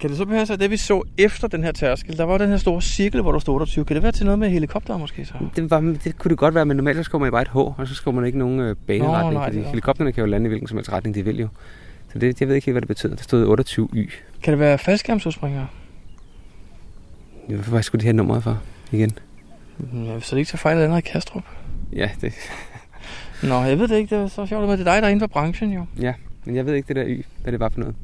[SPEAKER 1] Kan det så passe, at det vi så efter den her tærskel, der var den her store cirkel, hvor der stod 28. Kan det være til noget med helikopter måske så?
[SPEAKER 2] Det, var, det kunne det godt være, men normalt så skriver man bare et H, og så skriver man ikke nogen øh, baneretning,
[SPEAKER 1] Nå,
[SPEAKER 2] Nå,
[SPEAKER 1] nej,
[SPEAKER 2] nej, fordi
[SPEAKER 1] det er-
[SPEAKER 2] helikopterne kan jo lande i hvilken som helst retning, de vil jo. Så det, jeg ved ikke helt, hvad det betød. Der stod 28Y.
[SPEAKER 1] Kan det være faldskærmsudspringere?
[SPEAKER 2] Hvorfor skulle de have nummeret for igen?
[SPEAKER 1] Mm, Ja, hvis det ikke tager fejl, er det andet Kastrup.
[SPEAKER 2] Ja, det,
[SPEAKER 1] Nå, jeg ved det ikke. Det er så sjovt, men det er dig, der er inde på branchen jo.
[SPEAKER 2] ja, men jeg ved ikke det der Y, hvad det var for noget.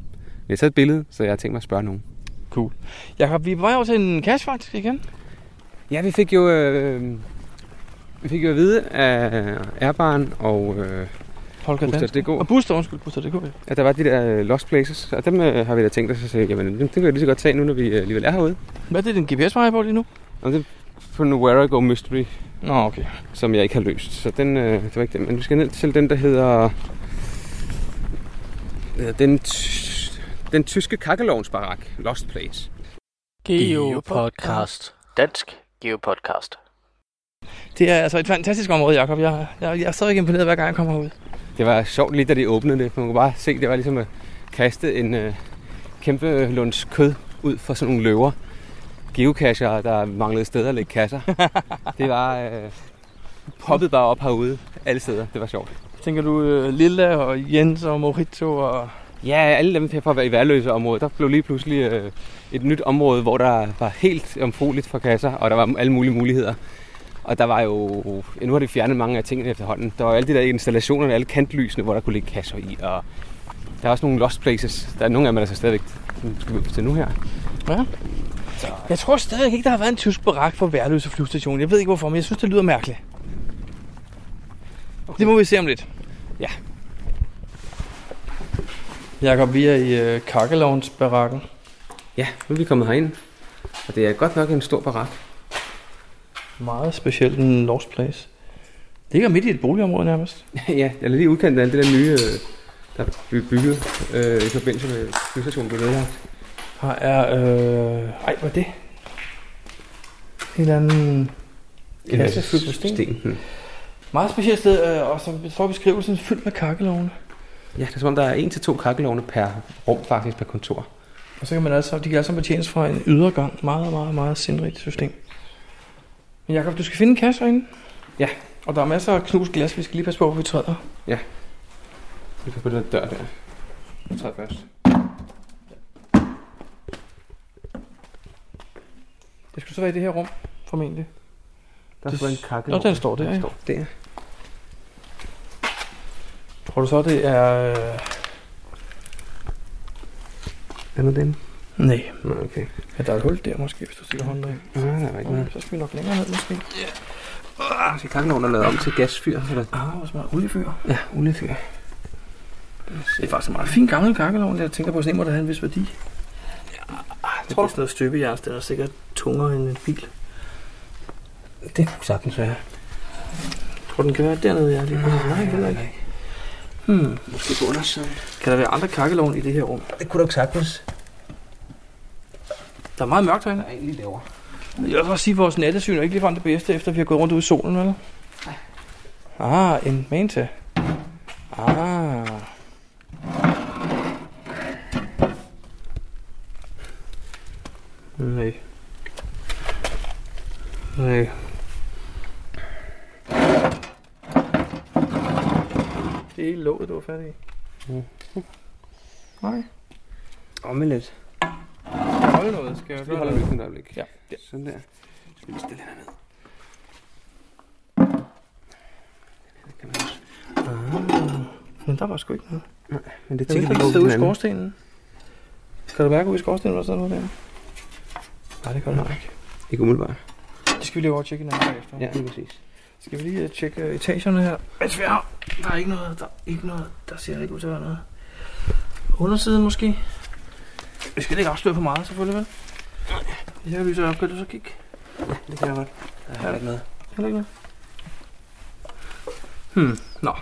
[SPEAKER 2] Men jeg taget et billede, så jeg har tænkt mig at spørge nogen.
[SPEAKER 1] Cool. Jakob, vi er på vej over til en cash faktisk igen.
[SPEAKER 2] Ja, vi fik jo, øh, vi fik jo at vide af Airbaren og øh,
[SPEAKER 1] Holger
[SPEAKER 2] Buster
[SPEAKER 1] Danske.
[SPEAKER 2] DK,
[SPEAKER 1] Og Buster, undskyld, Buster, det går vi.
[SPEAKER 2] at der var de der øh, lost places, og dem øh, har vi da tænkt os at sige, jamen dem, dem kan vi lige så godt tage nu, når vi øh, alligevel er herude.
[SPEAKER 1] Hvad er det, den GPS-vej på lige nu?
[SPEAKER 2] Og det er på en Where I Go Mystery.
[SPEAKER 1] Nå, okay.
[SPEAKER 2] Som jeg ikke har løst. Så den, øh, det var ikke den. Men vi skal ned til den, der hedder... øh, Den, ty- den tyske kakkelovnsbarak. Lost Place.
[SPEAKER 6] Geopodcast. Dansk Geopodcast.
[SPEAKER 1] Det er altså et fantastisk område, Jacob. Jeg, jeg, jeg er stadig imponeret, hver gang jeg kommer ud.
[SPEAKER 2] Det var sjovt lige da de åbnede det. Man kunne bare se, det var ligesom at kaste en øh, kæmpe lunds kød ud for sådan nogle løver. Geocacher, der manglede steder at lægge kasser. det var øh, poppet bare op herude alle steder. Det var sjovt.
[SPEAKER 1] Tænker du øh, Lilla og Jens og Morito og...
[SPEAKER 2] Ja, alle dem her fra i værløse område, der blev lige pludselig øh, et nyt område, hvor der var helt omfrueligt for kasser, og der var alle mulige muligheder. Og der var jo, ja, nu har de fjernet mange af tingene efterhånden. Der var jo alle de der installationer, alle kantlysene, hvor der kunne ligge kasser i, og der er også nogle lost places. Der er nogle af dem, der så stadigvæk som skal vi op til nu her.
[SPEAKER 1] Ja. Jeg tror stadig ikke, der har været en tysk barak på Værløse flyvestation. Jeg ved ikke hvorfor, men jeg synes, det lyder mærkeligt. Okay. Det må vi se om lidt.
[SPEAKER 2] Ja.
[SPEAKER 1] Jakob, vi er i øh, Kakkelovnsbarakken.
[SPEAKER 2] Ja, nu er vi kommet herind, og det er godt nok en stor barak.
[SPEAKER 1] Meget specielt en lost place. Det ligger midt i et boligområde nærmest.
[SPEAKER 2] ja, eller lige udkanten af det der nye, øh, der blev bygget øh, i forbindelse med flystationen blev nedlagt.
[SPEAKER 1] Her er... Øh... Ej, hvad er det? En eller anden
[SPEAKER 2] En
[SPEAKER 1] kasse
[SPEAKER 2] masse
[SPEAKER 1] fyldt med sten.
[SPEAKER 2] sten. Hmm.
[SPEAKER 1] Meget specielt sted, øh, og som står beskrivelsen fyldt med kakkelovne.
[SPEAKER 2] Ja, det er som om, der er en til to kakkelovne per rum faktisk, per kontor.
[SPEAKER 1] Og så kan man altså, de kan altså betjenes fra en ydre gang. Meget, meget, meget sindrigt system. Men Jacob, du skal finde en kasse herinde.
[SPEAKER 2] Ja.
[SPEAKER 1] Og der er masser af knust glas, vi skal lige passe på, hvor vi træder.
[SPEAKER 2] Ja. Vi kan på den der dør der. Jeg tager først.
[SPEAKER 1] Det skulle så være i det her rum, formentlig.
[SPEAKER 2] Der er
[SPEAKER 1] Det-
[SPEAKER 2] så en kakkel
[SPEAKER 1] Nå,
[SPEAKER 2] over.
[SPEAKER 1] den står der,
[SPEAKER 2] Den
[SPEAKER 1] ja.
[SPEAKER 2] står der.
[SPEAKER 1] Tror du så, det er... Øh...
[SPEAKER 2] Er det den?
[SPEAKER 1] Nej.
[SPEAKER 2] Nå, okay.
[SPEAKER 1] Ja, der er et hul der måske, hvis du stikker hånden derind.
[SPEAKER 2] Ja, der er ikke noget.
[SPEAKER 1] Så skal vi nok længere ned, måske. Ja.
[SPEAKER 2] Ah, så kakkelovnen er lavet om til gasfyr. Eller?
[SPEAKER 1] Ah, hvor smart. Oliefyr.
[SPEAKER 2] Ja, oliefyr.
[SPEAKER 1] Det er faktisk en meget fin gammel kakkelovn, jeg tænker på, sådan en må der have en vis værdi. Ja, jeg tror, det er sådan noget støbejern, den er sikkert tungere end en bil.
[SPEAKER 2] Det kunne sagtens være.
[SPEAKER 1] Tror du, den kan være dernede, ja? Lige nej, nej, heller ikke. Hmm.
[SPEAKER 2] Måske på undersiden.
[SPEAKER 1] Kan der være andre kakkelovn i det her rum?
[SPEAKER 2] Det kunne du ikke sagtens.
[SPEAKER 1] Der er meget mørkt herinde.
[SPEAKER 2] Der er egentlig lavere.
[SPEAKER 1] Jeg vil også sige, at vores nattesyn er ikke ligefrem det bedste, efter vi har gået rundt ude i solen, eller? Ah, en manta. Ah. Nej. Nej. Det er hele låget, du var færdig i. Nej.
[SPEAKER 2] Om lidt.
[SPEAKER 1] Hold noget, skal jeg
[SPEAKER 2] Vi holder lygten et øjeblik.
[SPEAKER 1] Ja.
[SPEAKER 2] Sådan der. Så skal vi stille herned.
[SPEAKER 1] Men der var sgu ikke noget.
[SPEAKER 2] Nej, men det
[SPEAKER 1] Jeg
[SPEAKER 2] tænker
[SPEAKER 1] ved, der
[SPEAKER 2] vi på
[SPEAKER 1] sidder ude i
[SPEAKER 2] hinanden.
[SPEAKER 1] skorstenen. Kan du mærke ude i skorstenen, hvor der sidder noget der? Nej, det gør det ikke.
[SPEAKER 2] Ikke umiddelbart.
[SPEAKER 1] Det skal vi lige over og tjekke en anden dag efter.
[SPEAKER 2] Ja, lige præcis.
[SPEAKER 1] Skal vi lige øh, tjekke øh, etagerne her? Mens vi har. Der er ikke noget, der, er ikke noget, der ser ikke ud til at være noget. Undersiden måske? Vi skal ikke afsløre for meget, selvfølgelig vel? Det her lyser op, kan du så kigge?
[SPEAKER 2] Ja, det kan jeg godt. Der er heller ikke noget.
[SPEAKER 1] Heller ikke noget. Hmm, nå.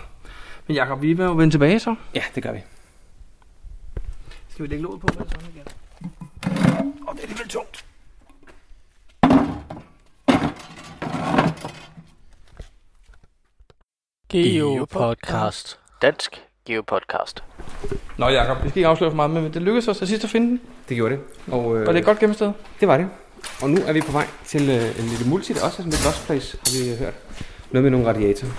[SPEAKER 1] Men Jacob, vi må jo vende tilbage så.
[SPEAKER 2] Ja, det gør vi.
[SPEAKER 1] Skal vi lægge låget på med det samme igen? Åh, det er alligevel tungt.
[SPEAKER 6] Geopodcast. Dansk Geopodcast.
[SPEAKER 1] Nå Jacob, vi skal ikke afsløre for meget, men det lykkedes os til sidst at finde den.
[SPEAKER 2] Det gjorde det. Og, øh,
[SPEAKER 1] Var det et godt gemt sted?
[SPEAKER 2] Det var det. Og nu er vi på vej til øh, en lille multi, der også er sådan lidt lost place, har vi øh, hørt. Noget med nogle radiatorer.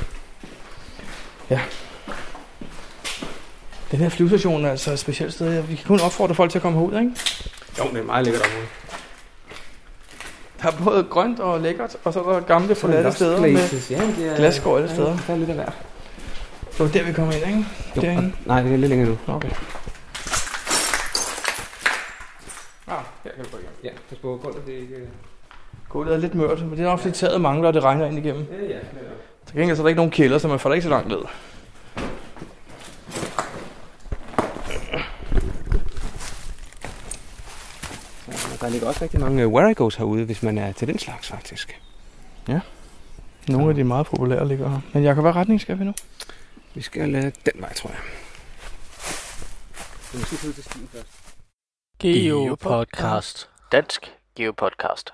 [SPEAKER 1] Den her flyvestation er altså et specielt sted. Vi kan kun opfordre folk til at komme herud, ikke?
[SPEAKER 2] Jo, det er et meget lækkert område.
[SPEAKER 1] Der er både grønt og lækkert, og så er der gamle forladte
[SPEAKER 2] lost
[SPEAKER 1] steder
[SPEAKER 2] places.
[SPEAKER 1] med
[SPEAKER 2] Ja, det er-
[SPEAKER 1] glasgård alle
[SPEAKER 2] ja,
[SPEAKER 1] steder.
[SPEAKER 2] der er lidt af hvert.
[SPEAKER 1] Det var der, vi kom ind, ikke?
[SPEAKER 2] Jo,
[SPEAKER 1] Derinde.
[SPEAKER 2] og- nej, det er lidt længere nu.
[SPEAKER 1] Okay. Ah, her kan du gå igen.
[SPEAKER 2] Ja, pas på gulvet, det er ikke...
[SPEAKER 1] Gulvet er lidt mørt, men det er nok fordi taget mangler, og det regner ind igennem.
[SPEAKER 2] Ja, ja.
[SPEAKER 1] Til gengæld så er der ikke nogen kælder, så man får da ikke så langt ned.
[SPEAKER 2] Der ligger også rigtig mange øh, where I goes herude, hvis man er til den slags, faktisk.
[SPEAKER 1] Nogle af de meget populære ligger her. Men Jacob, hvad retning skal vi nu?
[SPEAKER 2] Vi skal øh, den vej, tror jeg.
[SPEAKER 6] Geopodcast. Dansk Geopodcast.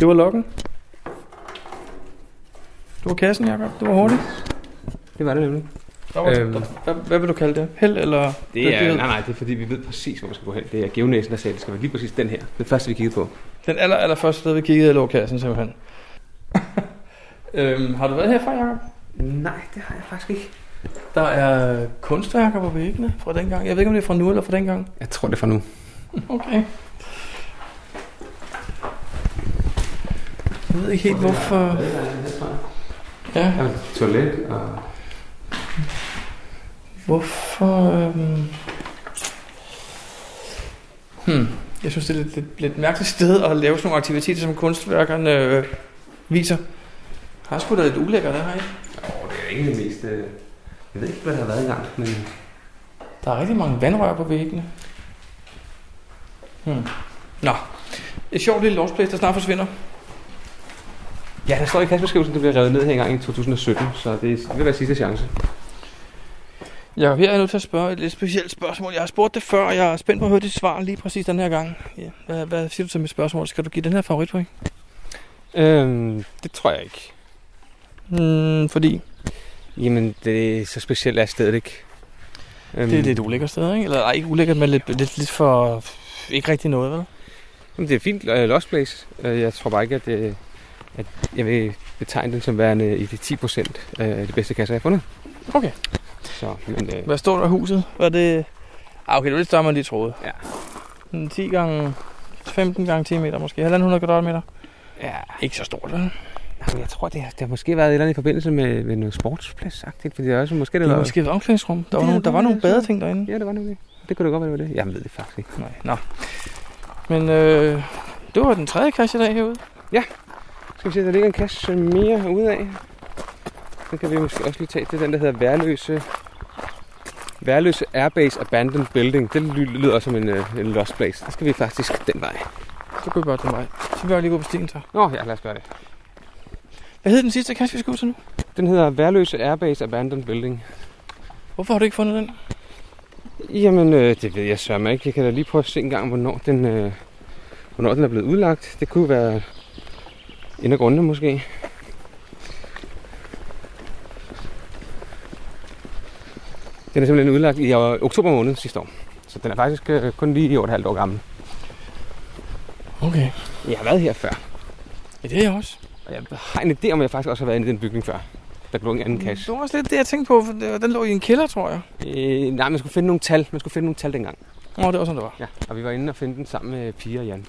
[SPEAKER 11] Det var lokken. Det var kassen, Jacob. Det var hurtigt.
[SPEAKER 2] Det var det nemlig.
[SPEAKER 1] Der var,
[SPEAKER 2] Øhm.
[SPEAKER 1] øhm. der, hvad, hvad vil du kalde det? Held eller?
[SPEAKER 2] Det er, nej, nej, det er fordi, vi ved præcis, hvor man skal gå hen. Det er Geonæsen, der sagde, at det skal være lige præcis den her. Den første, vi kiggede på.
[SPEAKER 1] Den aller, aller første sted, vi kiggede, lå kassen simpelthen. øhm, har du været herfra, Jacob?
[SPEAKER 2] Nej, det har jeg faktisk ikke.
[SPEAKER 1] Der er kunstværker på væggene fra dengang. Jeg ved ikke, om det er fra nu eller fra dengang.
[SPEAKER 2] Jeg tror, det er fra nu.
[SPEAKER 1] Okay. Jeg ved ikke helt, hvorfor... Ja.
[SPEAKER 2] Ja, men toilet og...
[SPEAKER 1] Hvorfor... Øhm... Hmm. Jeg synes, det er et lidt, lidt, lidt mærkeligt sted at lave sådan nogle aktiviteter, som kunstværkerne øh, viser. Har sgu da lidt ulækkert, det her, ikke?
[SPEAKER 2] Åh, det er egentlig mest... Øh... Jeg ved ikke, hvad der har været engang, men...
[SPEAKER 1] Der er rigtig mange vandrør på væggene. Hmm. Nå. Et sjovt lille lost place, der snart forsvinder.
[SPEAKER 2] Ja, der står i kastbeskrivelsen, det bliver revet ned her engang i 2017, så det vil være sidste chance.
[SPEAKER 1] Jakob, her er jeg nødt til at spørge et lidt specielt spørgsmål. Jeg har spurgt det før, og jeg er spændt på at høre dit svar lige præcis den her gang. Ja. Hvad, hvad siger du til mit spørgsmål? Skal du give den her favoritpoint?
[SPEAKER 2] Øhm, det tror jeg ikke.
[SPEAKER 1] Mm, fordi?
[SPEAKER 2] Jamen, det er så specielt er stedet ikke. Øhm,
[SPEAKER 1] Det er lidt ulækkert sted, ikke? Eller ej, ikke ulækkert, men lidt, lidt, lidt for... Ikke rigtig noget, vel?
[SPEAKER 2] Jamen, det er et fint uh, lost place. Øh, jeg tror bare ikke, at, øh, at jeg vil betegne den som værende i de 10 procent øh, af de bedste kasser, jeg har fundet.
[SPEAKER 1] Okay.
[SPEAKER 2] Så, men, øh,
[SPEAKER 1] Hvad står der i huset? Var det... Ah, okay, det var lidt større, end jeg lige troede. Ja. 10 gange 15 gange 10 meter måske. 1.500 kvadratmeter.
[SPEAKER 2] Ja.
[SPEAKER 1] Ikke så stort, vel?
[SPEAKER 2] Jamen, jeg tror, det har, det har måske været et eller andet i forbindelse med, med noget sportsplads-agtigt, fordi det er også måske...
[SPEAKER 1] Det
[SPEAKER 2] var,
[SPEAKER 1] er måske et omklædningsrum. Der var,
[SPEAKER 2] Ja,
[SPEAKER 1] nogle, der
[SPEAKER 2] det
[SPEAKER 1] var
[SPEAKER 2] er
[SPEAKER 1] nogle
[SPEAKER 2] det.
[SPEAKER 1] badeting derinde.
[SPEAKER 2] Ja, det var nemlig. Det kunne da godt være, det var det. Jeg ved det faktisk ikke.
[SPEAKER 1] Nej, nå. Men øh, det var den tredje kasse i dag herude.
[SPEAKER 2] Ja. Skal vi se, der ligger en kasse mere herude af. Så kan vi måske også lige tage det, er den der hedder Værløse... Værløse Airbase Abandoned Building. Det ly- lyder også som en, øh, en lost place. Der skal vi faktisk den vej.
[SPEAKER 1] Så kunne vi bare den vej. Så vil jeg lige gå på stien så.
[SPEAKER 2] Nå, ja, lad os gøre det.
[SPEAKER 1] Hvad hed den sidste kasse, vi skulle ud til nu?
[SPEAKER 2] Den hedder Værløse Airbase Abandoned Building.
[SPEAKER 1] Hvorfor har du ikke fundet den?
[SPEAKER 2] Jamen, øh, det ved jeg sørme ikke. Jeg kan da lige prøve at se engang, hvornår den, øh, hvornår den er blevet udlagt. Det kunne være en af grundene måske. Den er simpelthen udlagt i øh, oktober måned sidste år. Så den er faktisk øh, kun lige 8,5 år gammel.
[SPEAKER 1] Okay.
[SPEAKER 2] Jeg har været her før.
[SPEAKER 1] Ja, det er jeg også.
[SPEAKER 2] Og jeg har en idé om, at jeg faktisk også har været inde i den bygning før. Der lå en anden kasse.
[SPEAKER 1] Det var også lidt det, jeg tænkte på, for det- den lå i en kælder, tror jeg.
[SPEAKER 2] Øh, nej, man skulle finde nogle tal. Man skulle finde nogle tal dengang.
[SPEAKER 1] Nå, det var sådan, det var.
[SPEAKER 2] Ja, og vi var inde og finde den sammen med Pia og Jan.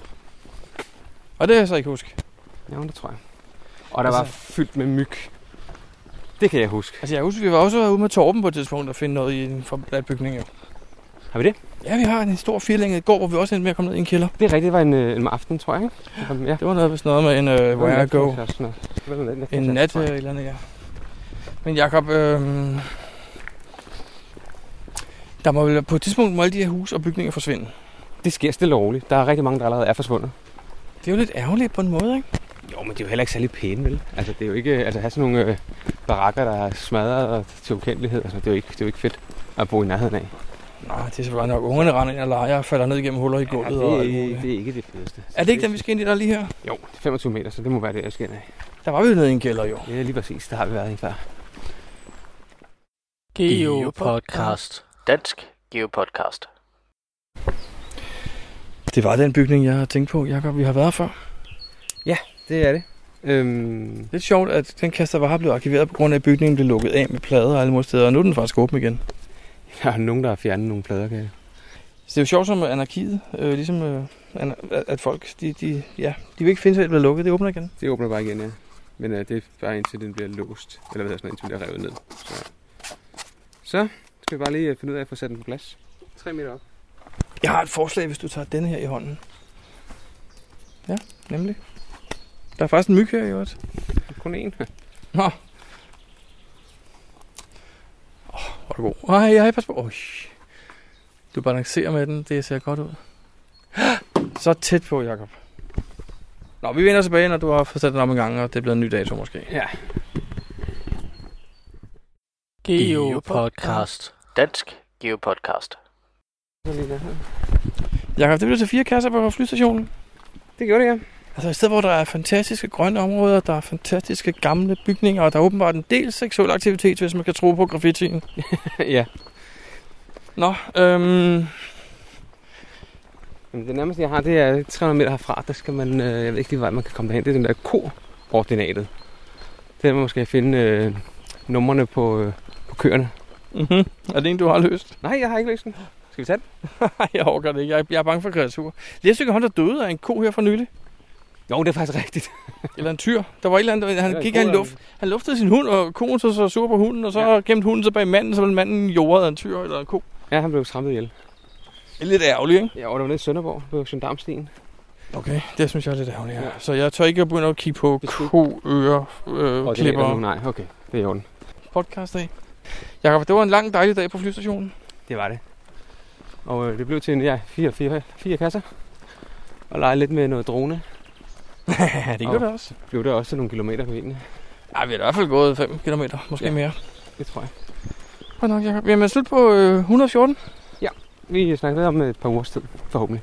[SPEAKER 1] Og det kan jeg så ikke huske.
[SPEAKER 2] Ja, det tror jeg. Og der var
[SPEAKER 1] Altså-
[SPEAKER 2] fyldt med myg. Det kan jeg huske.
[SPEAKER 1] Altså, jeg husker, vi var også ude med Torben på et tidspunkt og finde noget i en forladt bygning. Jo.
[SPEAKER 2] Har vi det?
[SPEAKER 1] Ja, vi har en stor firlænget gård, hvor vi også endte med at komme ned i en kælder.
[SPEAKER 2] Det er rigtigt, det var en, øh, en aften, tror jeg. Ikke? Det kom- Ja.
[SPEAKER 1] Det var noget, vist noget med en øh, where I go. En
[SPEAKER 2] En
[SPEAKER 1] nat øh, et eller andet, ja. Men Jacob, øh, der må vel på et tidspunkt må alle de her huse og bygninger forsvinde.
[SPEAKER 2] Det sker stille og roligt. Der er rigtig mange, der allerede er forsvundet.
[SPEAKER 1] Det er jo lidt ærgerligt på en måde, ikke?
[SPEAKER 2] Jo, men det er jo heller ikke særlig pæne, vel? Altså, det er jo ikke... Altså, at have sådan nogle øh, barakker, der er smadret og til ukendelighed. Altså, det er, jo ikke, det er jo ikke fedt at bo i nærheden af.
[SPEAKER 1] Nej, det er selvfølgelig nok. Ungerne render ind og leger og falder ned gennem huller i gulvet.
[SPEAKER 2] det,
[SPEAKER 1] og alt
[SPEAKER 2] er,
[SPEAKER 1] muligt.
[SPEAKER 2] det er ikke det fedeste.
[SPEAKER 1] er det ikke den, vi skal ind i, der er lige her?
[SPEAKER 2] Jo, det er 25 meter, så det må være det, jeg skal ind af.
[SPEAKER 1] Der var vi jo nede i en kælder, jo.
[SPEAKER 2] Ja, lige præcis. Der har vi været i før.
[SPEAKER 6] Geopodcast. Dansk Geopodcast.
[SPEAKER 1] Det var den bygning, jeg har tænkt på, Jacob, vi har været før.
[SPEAKER 2] Ja, det er det. Øhm...
[SPEAKER 1] Lidt sjovt, at den kasse, der var her, blev arkiveret på grund af, at bygningen blev lukket af med plader og alle mulige steder, og nu er den faktisk åben igen.
[SPEAKER 2] Der er nogen, der har fjernet nogle plader, kan jeg.
[SPEAKER 1] Så det er jo sjovt som anarkiet, øh, ligesom øh, ana- at- at folk, de, de, ja, de vil ikke finde sig, at det bliver lukket, det åbner igen.
[SPEAKER 2] Det åbner bare igen, ja. Men øh, det er bare indtil den bliver låst. Eller hvad hedder sådan noget, indtil den bliver revet ned. Så, så skal vi bare lige øh, finde ud af at få sat den på plads. 3 meter op.
[SPEAKER 1] Jeg har et forslag, hvis du tager denne her i hånden. Ja, nemlig. Der er faktisk en myg her i øvrigt.
[SPEAKER 2] Kun en.
[SPEAKER 1] Nå. Åh, oh, hvor er du god. Ej, ej, pas på. Oj. Du balancerer med den, det ser godt ud. Så tæt på, Jakob. Nå, vi vender tilbage, når du har fået sat den om en gang, og det er blevet en ny dato måske.
[SPEAKER 2] Ja.
[SPEAKER 6] Geopodcast. Dansk Geopodcast.
[SPEAKER 2] Så lige der her.
[SPEAKER 1] Jakob, det blev til fire kasser på flystationen.
[SPEAKER 2] Det gjorde det, ja.
[SPEAKER 1] Altså et sted, hvor der er fantastiske grønne områder, der er fantastiske gamle bygninger, og der er åbenbart en del seksuel aktivitet, hvis man kan tro på graffitien.
[SPEAKER 2] ja.
[SPEAKER 1] Nå, øhm,
[SPEAKER 2] Jamen, det nærmeste, jeg har, det er 300 meter herfra. Der skal man, øh, jeg ved ikke lige, vej man kan komme derhen. Det er den der ko-ordinatet. Der man måske finde øh, numrene på, øh, på køerne.
[SPEAKER 1] Mhm. Er det en, du har løst?
[SPEAKER 2] Nej, jeg har ikke løst den. Skal vi tage den?
[SPEAKER 1] Nej, jeg overgår det ikke. Jeg, jeg er bange for kreaturer. Læsø Hånd er døde af en ko her for nylig.
[SPEAKER 2] Jo, det er faktisk rigtigt.
[SPEAKER 1] eller en tyr. Der var et eller andet,
[SPEAKER 2] Ja,
[SPEAKER 1] han
[SPEAKER 2] en
[SPEAKER 1] gik, han,
[SPEAKER 2] ko er-
[SPEAKER 1] luft, han luftede sin hund, og koen så, så sur på hunden, og så ja. gemte hunden sig bag manden, så blev manden jordet af en tyr eller en ko.
[SPEAKER 2] Ja, han blev trampet ihjel.
[SPEAKER 1] Det er lidt ærgerligt, ikke?
[SPEAKER 2] Ja, og det var nede i Sønderborg på Søndamstien.
[SPEAKER 1] Okay, det synes jeg er lidt ærgerligt. Ja. Så jeg tør ikke at begynde at kigge på koører, øh, klipper.
[SPEAKER 2] nu, nej, okay. Det er i orden.
[SPEAKER 1] Podcast af. Jakob, det var en lang dejlig dag på flystationen.
[SPEAKER 2] Det var det. Og øh, det blev til en, ja, fire, fire, fire kasser. Og lege lidt med noget drone.
[SPEAKER 1] ja, det gjorde det også.
[SPEAKER 2] Blev der også nogle kilometer på benene.
[SPEAKER 1] Ej, vi har i hvert fald gået 5 km, måske ja. mere.
[SPEAKER 2] Det tror jeg.
[SPEAKER 1] Godt nok, Jacob. Jamen, slut på øh, 114.
[SPEAKER 2] Ja, vi snakker ved om øh, et par ugers tid, forhåbentlig.